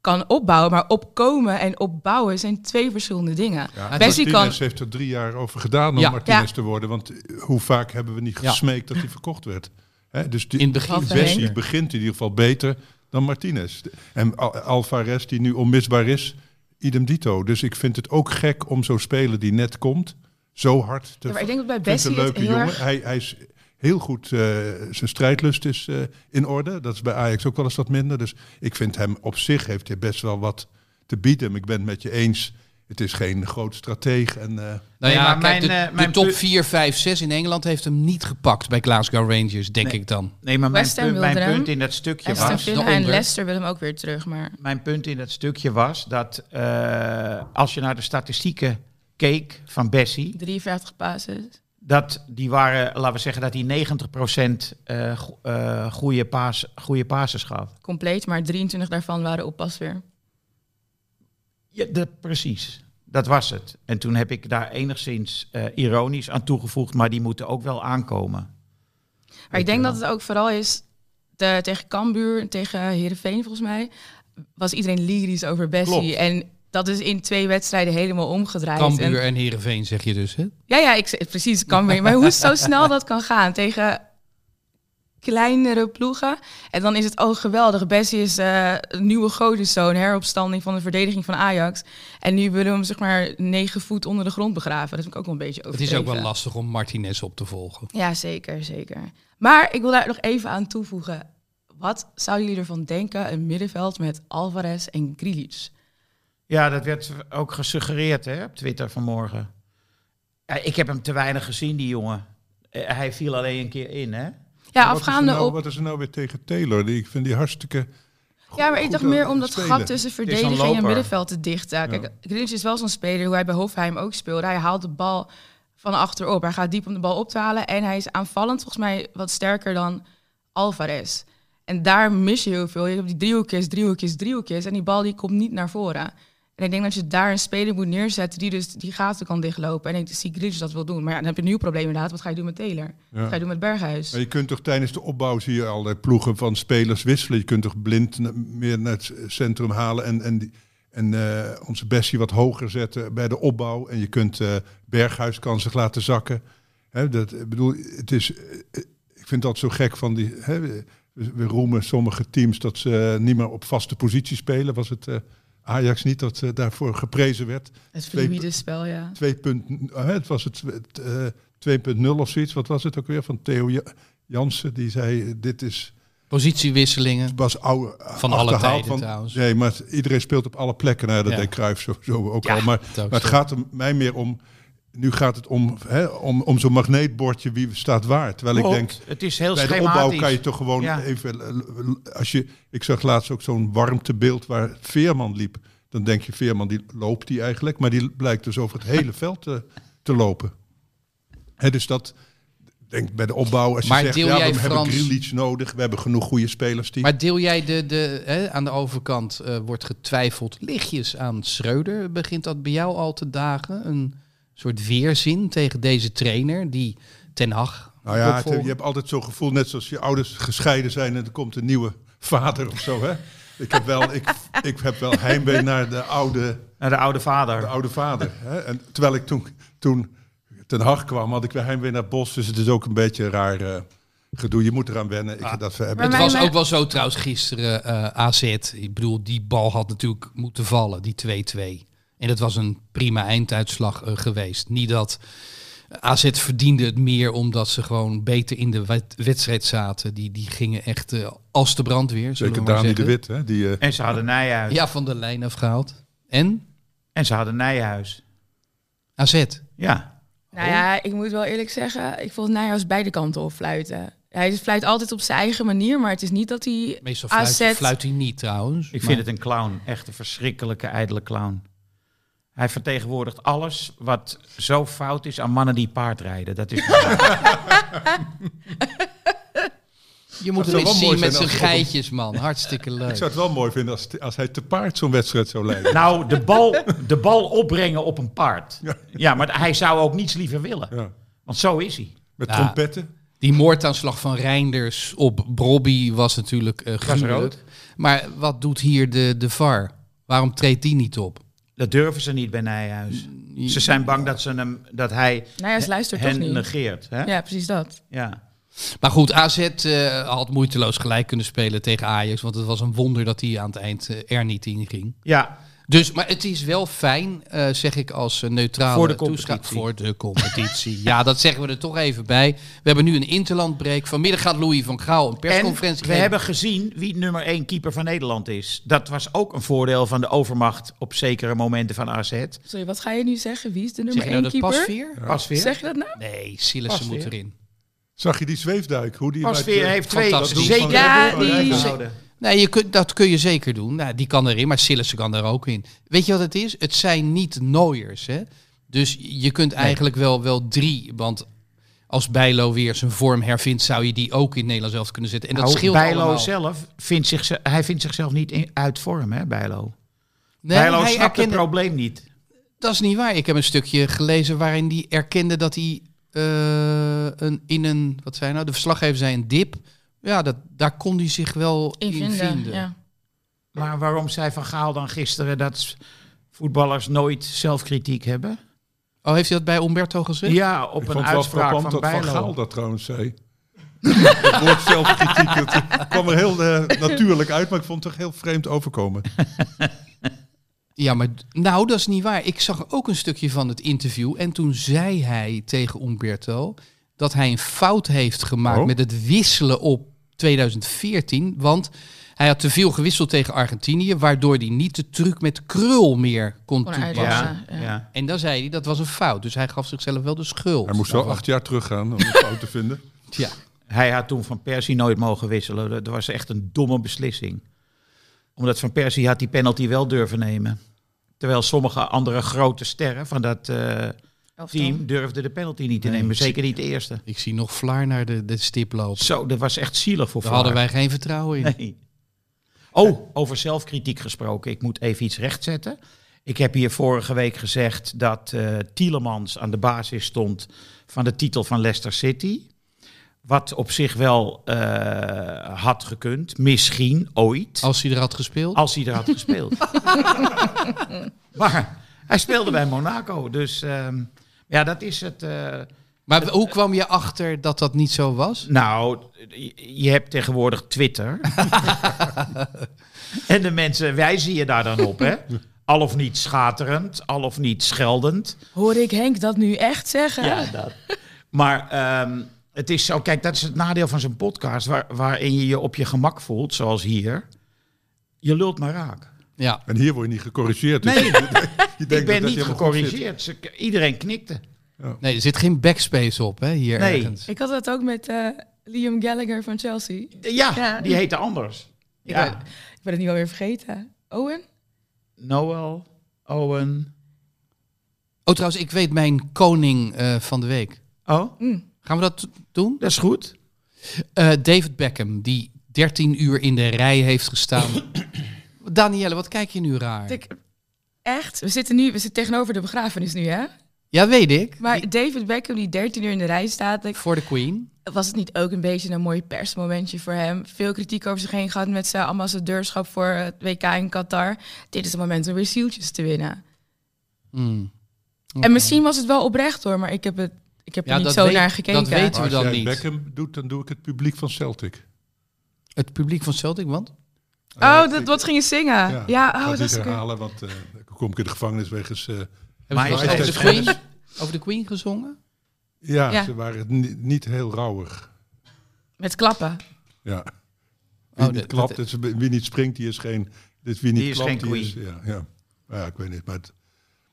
Speaker 4: kan opbouwen. Maar opkomen en opbouwen zijn twee verschillende dingen.
Speaker 5: Ja,
Speaker 4: Bessie kan...
Speaker 5: Martinez heeft er drie jaar over gedaan om
Speaker 3: Ja.
Speaker 5: Martinez
Speaker 4: Ja.
Speaker 5: te worden. Want eh, hoe vaak hebben we niet
Speaker 3: Ja.
Speaker 5: gesmeekt dat hij verkocht werd? Hè, dus
Speaker 3: In het
Speaker 5: die
Speaker 3: begin.
Speaker 4: Wat
Speaker 5: Bessie
Speaker 4: Henk.
Speaker 5: begint in ieder geval beter dan Martinez. En Al- Alvarez, die nu onmisbaar is, idem dito. Dus ik vind het ook gek om zo'n speler die net komt, zo hard te
Speaker 4: Ja, maar ik denk dat bij
Speaker 5: Ik vind het
Speaker 4: Bessie het
Speaker 5: een
Speaker 4: heel
Speaker 5: leuke jongen.
Speaker 4: erg...
Speaker 5: Hij, hij is heel goed, eh, zijn strijdlust is eh, in orde. Dat is bij Ajax ook wel eens wat minder. Dus ik vind hem op zich heeft hij best wel wat te bieden. Ik ben het met je eens. Het is geen groot strateeg. En, eh,
Speaker 3: Nou
Speaker 1: Nee,
Speaker 3: ja,
Speaker 1: maar
Speaker 3: kijk,
Speaker 1: mijn,
Speaker 3: de,
Speaker 1: eh,
Speaker 3: de
Speaker 1: mijn
Speaker 3: top
Speaker 1: pu-
Speaker 3: 4, 5, 6 in Engeland heeft hem niet gepakt bij Glasgow Rangers, denk
Speaker 1: Nee.
Speaker 3: ik dan.
Speaker 1: Nee, maar mijn,
Speaker 4: West Ham
Speaker 1: punt, mijn
Speaker 4: wilde hem.
Speaker 1: punt in dat stukje
Speaker 4: Aston
Speaker 1: was...
Speaker 3: Villa
Speaker 4: Villa en
Speaker 3: daaronder.
Speaker 4: Leicester willen hem ook weer terug, maar...
Speaker 1: Mijn punt in dat stukje was dat eh, als je naar de statistieken keek van Bessie,
Speaker 4: 53 passes.
Speaker 1: dat die waren, laten we zeggen, dat hij 90% eh go- eh, goede, paas, goede passes gaf.
Speaker 4: Compleet, maar 23 daarvan waren op pas weer.
Speaker 1: Ja, dat, precies. Dat was het. En toen heb ik daar enigszins eh, ironisch aan toegevoegd, maar die moeten ook wel aankomen.
Speaker 4: Maar ik
Speaker 1: Weet je
Speaker 4: denk
Speaker 1: wel.
Speaker 4: dat het ook vooral is... De, tegen Cambuur, tegen Heerenveen volgens mij... was iedereen lyrisch over Bessie.
Speaker 1: Klopt.
Speaker 4: En dat is in twee wedstrijden helemaal omgedraaid. En-
Speaker 3: Cambuur en Heerenveen zeg je dus, hè?
Speaker 4: Ja, ja, ik, zeg- precies. Kan weer. Maar hoe zo snel dat kan gaan tegen kleinere ploegen. En dan is het, oh geweldig, Bessie is eh, een nieuwe godenzoon, heropstanding van de verdediging van Ajax. En nu willen we hem zeg maar negen voet onder de grond begraven. Dat vind ik ook wel een beetje
Speaker 3: Het
Speaker 4: overdreven.
Speaker 3: is ook wel lastig om Martinez op te volgen.
Speaker 4: Ja, zeker, zeker. Maar ik wil daar nog even aan toevoegen. Wat zouden jullie ervan denken, een middenveld met Alvarez en Grealish?
Speaker 1: Ja, dat werd ook gesuggereerd hè, op Twitter vanmorgen. Ja, ik heb hem te weinig gezien, die jongen. Eh, hij viel alleen een keer in, hè?
Speaker 4: Ja,
Speaker 5: wat is er
Speaker 4: afgaande
Speaker 5: nou-
Speaker 4: op...
Speaker 5: Wat is er nou weer tegen Taylor? Die- Ik vind die hartstikke...
Speaker 4: Ja, maar ik
Speaker 5: goed
Speaker 4: dacht
Speaker 5: aan
Speaker 4: meer
Speaker 5: het
Speaker 4: om dat
Speaker 5: spelen.
Speaker 4: gat tussen
Speaker 1: is een
Speaker 4: verdediging en
Speaker 1: loper.
Speaker 4: middenveld te dichten. Kijk, Grealish is wel zo'n speler hoe hij bij Hofheim ook speelde. Hij haalt de bal van achterop. Hij gaat diep om de bal op te halen. En hij is aanvallend volgens mij wat sterker dan Alvarez. En daar mis je heel veel. Je hebt die driehoekjes, driehoekjes, driehoekjes. En die bal die komt niet naar voren. En ik denk dat je daar een speler moet neerzetten die dus die gaten kan dichtlopen. En ik zie Grealish dat wil doen. Maar ja, dan heb je een nieuw probleem inderdaad. Wat ga je doen met Taylor? Wat ga je doen met Berghuis?
Speaker 5: Maar je kunt toch tijdens de opbouw zie je allerlei ploegen van spelers wisselen. Je kunt toch blind na- meer naar het centrum halen en, en, die- en eh, onze Bessie wat hoger zetten bij de opbouw. En je kunt eh, Berghuis kan zich laten zakken. Hè, dat, ik bedoel, het is, eh, ik vind dat zo gek van die. Hè, we, we roemen sommige teams dat ze eh, niet meer op vaste positie spelen. Was het eh, Ajax niet dat eh, daarvoor geprezen werd?
Speaker 4: Het
Speaker 5: twee-
Speaker 4: fluïde spel, ja.
Speaker 5: 2.0, eh, het was het, het, eh, 2.0 of zoiets. Wat was het ook weer van Theo Ja- Jansen? Die zei, eh, dit is
Speaker 3: Positiewisselingen.
Speaker 5: was oude
Speaker 3: Van alle tijden trouwens.
Speaker 5: Nee, maar het- iedereen speelt op alle plekken. Nou, dat
Speaker 3: Ja.
Speaker 5: deed Cruijff sowieso ook
Speaker 3: Ja,
Speaker 5: al. Maar,
Speaker 3: dat ook
Speaker 5: maar het
Speaker 3: zo.
Speaker 5: gaat er mij meer om... Nu gaat het om, hè, om, om zo'n magneetbordje wie staat waar. Terwijl ik
Speaker 1: Klopt.
Speaker 5: denk,
Speaker 1: het is heel
Speaker 5: bij de
Speaker 1: schematisch.
Speaker 5: opbouw kan je toch gewoon
Speaker 1: Ja.
Speaker 5: even... eh, l- Als je, ik zag laatst ook zo'n warmtebeeld waar Veerman liep. Dan denk je,
Speaker 3: <laughs>
Speaker 5: Veerman die loopt die eigenlijk. Maar die blijkt dus over het hele veld te, te lopen. eh, Hè, dus dat, denk bij de opbouw, als je
Speaker 3: Maar
Speaker 5: zegt,
Speaker 3: deel
Speaker 5: ja, we
Speaker 3: jij
Speaker 5: hebben
Speaker 3: Frans-
Speaker 5: Grealish nodig, we hebben genoeg goede spelers. Die...
Speaker 3: Maar deel jij de, de hè, aan de overkant eh, wordt getwijfeld lichtjes aan Schreuder? Begint dat bij jou al te dagen? Een soort weerzin tegen deze trainer die Ten Hag.
Speaker 5: Nou ja, het-
Speaker 3: opvolgt?
Speaker 5: je hebt altijd zo'n gevoel, net zoals je ouders gescheiden zijn en er komt een nieuwe vader of zo. Hè? Ik, heb wel, ik, ik heb wel heimwee naar de oude,
Speaker 1: Naar de oude vader.
Speaker 5: de oude vader. Hè? En terwijl ik toen, toen ten Hag kwam, had ik weer heimwee naar Bos. Dus het is ook een beetje een raar eh, gedoe. Je moet eraan wennen. Ik, dat we hebben.
Speaker 3: Het
Speaker 4: Maar
Speaker 3: was
Speaker 4: mijn-
Speaker 3: ook wel zo trouwens gisteren eh, AZ. Ik bedoel, die bal had natuurlijk moeten vallen, die 2-2. En dat was een prima einduitslag eh, geweest. Niet dat AZ verdiende het meer omdat ze gewoon beter in de wet- wedstrijd zaten. Die, die gingen echt eh, als de brandweer, zullen
Speaker 5: Zeker
Speaker 3: we maar
Speaker 5: Dani de
Speaker 3: zeggen.
Speaker 5: Wit, hè? die eh,
Speaker 1: En ze hadden Nijhuis.
Speaker 3: Ja, van de lijn afgehaald. En
Speaker 1: En ze hadden Nijhuis.
Speaker 3: AZ.
Speaker 1: Ja.
Speaker 4: Nou
Speaker 3: Oh.
Speaker 4: ja, ik moet wel eerlijk zeggen, ik vond Nijhuis beide kanten op fluiten. Hij fluit altijd op zijn eigen manier, maar het is niet dat hij
Speaker 3: Meestal fluit,
Speaker 4: AZ...
Speaker 3: fluit hij niet trouwens.
Speaker 1: Ik
Speaker 3: Maar
Speaker 1: vind het een clown. Echt een verschrikkelijke, ijdele clown. Hij vertegenwoordigt alles wat zo fout is aan mannen die paardrijden. Dat
Speaker 5: <laughs>
Speaker 1: is
Speaker 3: Je moet
Speaker 5: zou
Speaker 3: hem
Speaker 5: wel
Speaker 3: eens
Speaker 5: mooi
Speaker 3: zien met
Speaker 5: zijn
Speaker 3: zijn
Speaker 5: als-
Speaker 3: geitjes, man. Hartstikke
Speaker 5: ik
Speaker 3: leuk.
Speaker 5: zou het wel mooi vinden als, als hij te paard zo'n wedstrijd zou leiden.
Speaker 1: Nou, de bal, de bal opbrengen op een paard. Ja, maar hij zou ook niets liever willen.
Speaker 5: Ja.
Speaker 1: Want zo is hij.
Speaker 5: Met
Speaker 3: Ja.
Speaker 5: trompetten.
Speaker 3: Die moordaanslag van Reinders op Brobby was natuurlijk eh gruwelijk.
Speaker 1: rood.
Speaker 3: Maar wat doet hier de, de VAR? Waarom treedt die niet op?
Speaker 1: Dat durven ze niet bij Nijhuis. Ze zijn bang dat, ze hem, dat hij
Speaker 4: Nijhuis luistert toch
Speaker 1: hen
Speaker 4: niet.
Speaker 1: negeert. Hè? Ja.
Speaker 4: Ja, precies dat.
Speaker 3: Maar goed, AZ eh, had moeiteloos gelijk kunnen spelen tegen Ajax. Want het was een wonder dat hij aan het eind eh, er niet in ging.
Speaker 1: ja,
Speaker 3: Dus, maar het is wel fijn, eh, zeg ik als eh, neutrale
Speaker 1: Voor de
Speaker 3: toeschouwer-
Speaker 1: competitie.
Speaker 3: Voor de competitie. ja, dat zeggen we er toch even bij. We hebben nu een interlandbreak. Vanmiddag gaat Louis van Gaal een
Speaker 1: En
Speaker 3: persconferentie
Speaker 1: we
Speaker 3: geven.
Speaker 1: hebben gezien wie nummer één keeper van Nederland is. Dat was ook een voordeel van de overmacht op zekere momenten van AZ.
Speaker 4: Sorry, wat ga je nu zeggen? Wie is de nummer
Speaker 3: Zeg je nou
Speaker 4: 1
Speaker 3: dat
Speaker 4: keeper?
Speaker 3: Pasveer?
Speaker 1: Pasveer,
Speaker 4: Zeg je dat nou?
Speaker 3: Nee, Sillessen moet erin.
Speaker 5: Zag je die zweefduik? Hoe die uit,
Speaker 1: Pasveer
Speaker 5: eh,
Speaker 1: heeft twee
Speaker 3: fantastisch.
Speaker 1: zeker
Speaker 4: Ja,
Speaker 1: doelpunten
Speaker 4: die-
Speaker 1: gehouden.
Speaker 3: Nee, je kunt, dat kun je zeker doen. Nou, die kan erin, maar Sillissen kan er ook in. Weet je wat het is? Het zijn niet nooiers. Hè? Dus je kunt eigenlijk wel, wel drie. Want als Bijlo weer zijn vorm hervindt, zou je die ook in Nederland zelf kunnen zetten. En dat
Speaker 1: Nou,
Speaker 3: scheelt
Speaker 1: Bijlo
Speaker 3: allemaal.
Speaker 1: zelf vindt zich, hij vindt zichzelf niet in, uit vorm, hè, Bijlo.
Speaker 3: Nee,
Speaker 1: Bijlo
Speaker 3: hij
Speaker 1: snapt
Speaker 3: erkende,
Speaker 1: het probleem niet.
Speaker 3: Dat is niet waar. Ik heb een stukje gelezen waarin hij erkende dat hij eh, een, in een... Wat zei hij nou? De verslaggever zei een dip. Ja, dat, daar kon hij zich wel in vinden.
Speaker 4: Invinden, ja.
Speaker 1: Maar waarom zei Van Gaal dan gisteren dat voetballers nooit zelfkritiek hebben?
Speaker 3: Oh, heeft hij dat bij Umberto gezegd?
Speaker 1: Ja, op
Speaker 5: Ik
Speaker 1: een
Speaker 5: vond het wel
Speaker 1: uitspraak
Speaker 5: frappant
Speaker 1: van
Speaker 5: dat Van
Speaker 1: Bijlo.
Speaker 5: Gaal dat trouwens zei. het woord zelfkritiek, dat kwam er heel eh, natuurlijk uit, maar ik vond het toch heel vreemd overkomen.
Speaker 3: Ja, maar d- nou, dat is niet waar. Ik zag ook een stukje van het interview. En toen zei hij tegen Umberto dat hij een fout heeft gemaakt
Speaker 5: Oh.
Speaker 3: met het wisselen op 2014. Want hij had te veel gewisseld tegen Argentinië, waardoor hij niet de truc met krul meer kon
Speaker 4: Kon
Speaker 3: toepassen.
Speaker 4: uitleggen.
Speaker 1: Ja,
Speaker 4: Ja, ja.
Speaker 1: ja.
Speaker 3: En dan zei hij dat was een fout. Dus hij gaf zichzelf wel de schuld. Nou,
Speaker 5: Hij moest wel acht jaar teruggaan om het fout te vinden.
Speaker 3: Ja.
Speaker 1: Hij had toen Van Persie nooit mogen wisselen. Dat was echt een domme beslissing. Omdat Van Persie had die penalty wel durven nemen. Terwijl sommige andere grote sterren van dat eh,
Speaker 4: Elftal.
Speaker 1: team durfden de penalty niet te
Speaker 3: Nee,
Speaker 1: nemen.
Speaker 3: ik zie-
Speaker 1: Zeker niet de eerste.
Speaker 3: Ik zie nog Vlaar naar de, de stip lopen.
Speaker 1: Zo, dat was echt zielig voor
Speaker 3: Daar
Speaker 1: Vlaar.
Speaker 3: hadden wij geen vertrouwen in.
Speaker 1: Nee. Oh, over zelfkritiek gesproken. Ik moet even iets rechtzetten. Ik heb hier vorige week gezegd dat eh Tielemans aan de basis stond van de titel van Leicester City. Wat op zich wel eh, had gekund, misschien ooit,
Speaker 3: Als hij er had gespeeld.
Speaker 1: als hij er had gespeeld. maar hij speelde bij Monaco, dus ehm, ja, dat is het. eh,
Speaker 3: Maar w- hoe kwam je achter dat dat niet zo was?
Speaker 1: Nou, je- je hebt tegenwoordig
Speaker 5: <laughs>
Speaker 1: Twitter. en de mensen wijzen je daar dan op, hè? Al of niet schaterend, al of niet scheldend.
Speaker 4: Hoor ik Henk dat nu echt zeggen?
Speaker 1: Ja, dat. Maar ehm, het is zo, kijk, dat is het nadeel van zo'n podcast... Waar, waarin je je op je gemak voelt, zoals hier. Je lult maar raak.
Speaker 3: Ja.
Speaker 5: En hier word je niet gecorrigeerd. Dus
Speaker 1: Nee.
Speaker 5: je denkt
Speaker 1: Ik
Speaker 5: dat dat
Speaker 1: ben niet
Speaker 5: helemaal goed zit.
Speaker 1: gecorrigeerd. Ze- Iedereen knikte.
Speaker 3: Nee, er zit geen backspace op hè, hier
Speaker 1: Nee.
Speaker 3: ergens.
Speaker 4: Ik had dat ook met eh, Liam Gallagher van Chelsea.
Speaker 1: Ja,
Speaker 4: Ja.
Speaker 1: die heette anders.
Speaker 4: Ik,
Speaker 1: Ja.
Speaker 4: ben, ik ben het nu alweer vergeten. Owen?
Speaker 1: Noel, Owen...
Speaker 3: Oh, trouwens, ik weet mijn koning eh, van de week.
Speaker 1: Oh,
Speaker 3: Gaan we dat doen?
Speaker 1: dat is goed.
Speaker 3: Eh, David Beckham, die 13 uur in de rij heeft gestaan.
Speaker 1: <coughs>
Speaker 3: Danielle, wat kijk je nu raar?
Speaker 4: Ik- Echt? We zitten nu, we zitten tegenover de begrafenis nu, hè?
Speaker 3: Ja, weet ik.
Speaker 4: Maar David Beckham, die 13 uur in de rij staat, denk ik,
Speaker 3: Voor de Queen.
Speaker 4: was het niet ook een beetje een mooi persmomentje voor hem? Veel kritiek over zich heen gehad met zijn ambassadeurschap voor het WK in Qatar. Dit is het moment om weer zieltjes te winnen.
Speaker 3: Hmm.
Speaker 4: En misschien was het wel oprecht hoor, maar ik heb, het, ik heb
Speaker 3: Ja,
Speaker 4: er niet
Speaker 3: dat
Speaker 4: zo
Speaker 3: weet-
Speaker 4: naar gekeken.
Speaker 3: dat weten we
Speaker 5: Maar als
Speaker 3: dan
Speaker 5: jij
Speaker 3: niet.
Speaker 5: Beckham doet, dan doe ik het publiek van Celtic.
Speaker 3: Het publiek van Celtic, want?
Speaker 4: Oh,
Speaker 5: Eh,
Speaker 4: dat,
Speaker 5: ik-
Speaker 4: wat ging je zingen? Ja,
Speaker 5: ik ga
Speaker 4: oh,
Speaker 5: het
Speaker 4: dat is
Speaker 5: niet
Speaker 4: oké.
Speaker 5: herhalen, want eh, dan kom ik in de gevangenis wegens... eh,
Speaker 3: Hebben ze
Speaker 1: Maar
Speaker 3: wel eens
Speaker 5: is
Speaker 3: over de
Speaker 5: het
Speaker 3: Queen, over de Queen gezongen?
Speaker 5: ja,
Speaker 4: Ja.
Speaker 5: ze waren ni- niet heel rauwig.
Speaker 4: Met klappen.
Speaker 5: Ja. Wie
Speaker 3: Oh,
Speaker 5: niet
Speaker 3: dat-
Speaker 5: klapt,
Speaker 3: dat-
Speaker 5: is- wie niet springt, die is geen... Dus wie niet
Speaker 1: Die is
Speaker 5: klapt,
Speaker 1: geen
Speaker 5: die
Speaker 1: queen.
Speaker 5: is... Ja, ja. ja, ik weet niet, maar... het-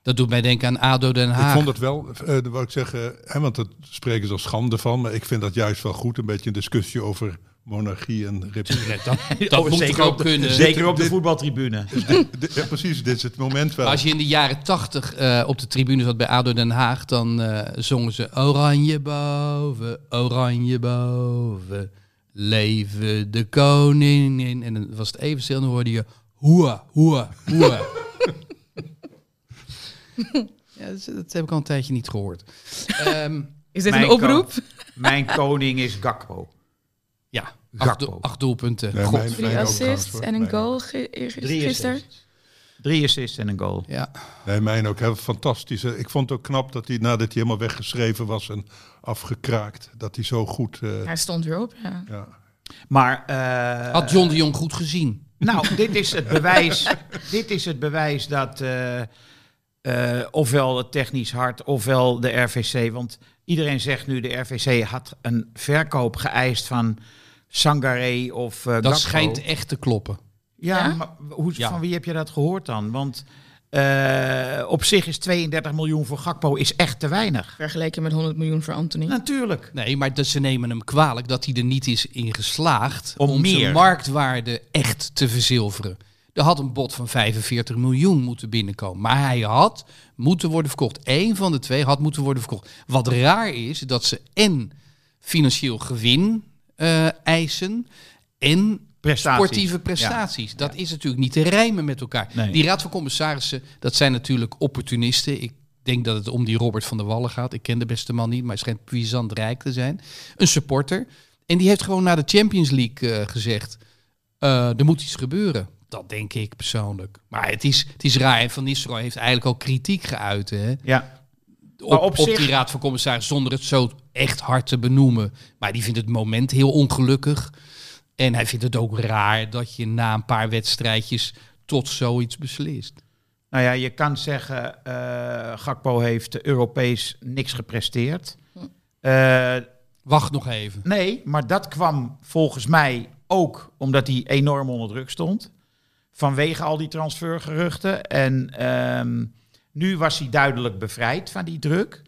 Speaker 3: Dat doet mij denken aan ADO Den Haag.
Speaker 5: Ik vond het wel, eh dat wou ik zeggen, hè, want dat spreken ze als schande van, maar ik vind dat juist wel goed, een beetje een discussie over monarchie en republiek.
Speaker 3: Dat, <laughs> dat moet
Speaker 1: Oh, zeker
Speaker 3: toch ook
Speaker 1: op de-
Speaker 3: kunnen?
Speaker 1: Zeker op de
Speaker 5: dit-
Speaker 1: voetbaltribune.
Speaker 5: <laughs> De- ja, precies, dit is het moment wel.
Speaker 3: Als je in de jaren tachtig eh, op de tribune zat bij ADO Den Haag, dan eh, zongen ze Oranje boven, oranje boven, leven de koningin. En dan was het even stil en dan hoorde je hoea, hoea, <laughs> hoea. ja, dat, dat heb ik al een tijdje niet gehoord. Ehm,
Speaker 4: Is dit
Speaker 1: Mijn
Speaker 4: een oproep?
Speaker 1: Mijn koning is Gakpo.
Speaker 3: ja, acht,
Speaker 1: Gakpo.
Speaker 3: doel- acht doelpunten.
Speaker 5: Nee,
Speaker 3: God.
Speaker 5: mijn- mijn
Speaker 4: Drie
Speaker 5: ook trouwens,
Speaker 4: assists
Speaker 5: hoor.
Speaker 4: en een
Speaker 5: Mijn ook.
Speaker 4: goal ge-
Speaker 1: Drie
Speaker 4: gisteren.
Speaker 1: assists. Drie assists en een goal.
Speaker 3: Ja.
Speaker 5: Nee, mijn ook. hè, Fantastisch. hè. Ik vond het ook knap dat hij, nadat hij helemaal weggeschreven was en afgekraakt, dat hij zo goed... eh,
Speaker 4: Hij stond weer op, ja.
Speaker 5: ja.
Speaker 1: Maar eh,
Speaker 3: Had John de Jong goed gezien?
Speaker 1: Nou, dit is het bewijs, <laughs> dit is het bewijs dat eh, eh, ofwel het technisch hart ofwel de RVC. Want iedereen zegt nu de RVC had een verkoop geëist van Sangaré of eh
Speaker 3: Dat
Speaker 1: Gakpo.
Speaker 3: schijnt echt te kloppen.
Speaker 1: Ja,
Speaker 4: Ja?
Speaker 1: maar hoe,
Speaker 3: Ja.
Speaker 1: van wie heb je dat gehoord dan? Want eh, op zich is 32 miljoen voor Gakpo is echt te weinig.
Speaker 4: Vergeleken met 100 miljoen voor Anthony.
Speaker 1: Natuurlijk.
Speaker 3: Nee, maar dat ze nemen hem kwalijk dat hij er niet is in geslaagd om,
Speaker 1: Om
Speaker 3: zijn
Speaker 1: meer.
Speaker 3: marktwaarde echt te verzilveren. Er had een bod van 45 miljoen moeten binnenkomen. Maar hij had moeten worden verkocht. Eén van de twee had moeten worden verkocht. Wat raar is dat ze en financieel gewin eh, eisen en
Speaker 1: Prestaties.
Speaker 3: sportieve prestaties. Dat is natuurlijk niet te rijmen met elkaar.
Speaker 1: Nee.
Speaker 3: Die raad van commissarissen, dat zijn natuurlijk opportunisten. Ik denk dat het om die Robert van der Wallen gaat. Ik ken de beste man niet, maar hij schijnt puissant rijk te zijn. Een supporter. En die heeft gewoon na de Champions League eh, gezegd, eh, er moet iets gebeuren. Dat denk ik persoonlijk. Maar het is, het is raar. En Van Nistelrooy heeft eigenlijk al kritiek geuit. Hè?
Speaker 1: Ja.
Speaker 3: op,
Speaker 1: op
Speaker 3: op
Speaker 1: zich-
Speaker 3: die raad van commissarissen zonder het zo echt hard te benoemen. Maar die vindt het moment heel ongelukkig. En hij vindt het ook raar dat je na een paar wedstrijdjes tot zoiets beslist.
Speaker 1: Nou ja, je kan zeggen, eh, Gakpo heeft Europees niks gepresteerd. Eh
Speaker 3: Wacht nog even.
Speaker 1: Nee, maar dat kwam volgens mij ook omdat hij enorm onder druk stond. Vanwege al die transfergeruchten. En ehm, nu was hij duidelijk bevrijd van die druk.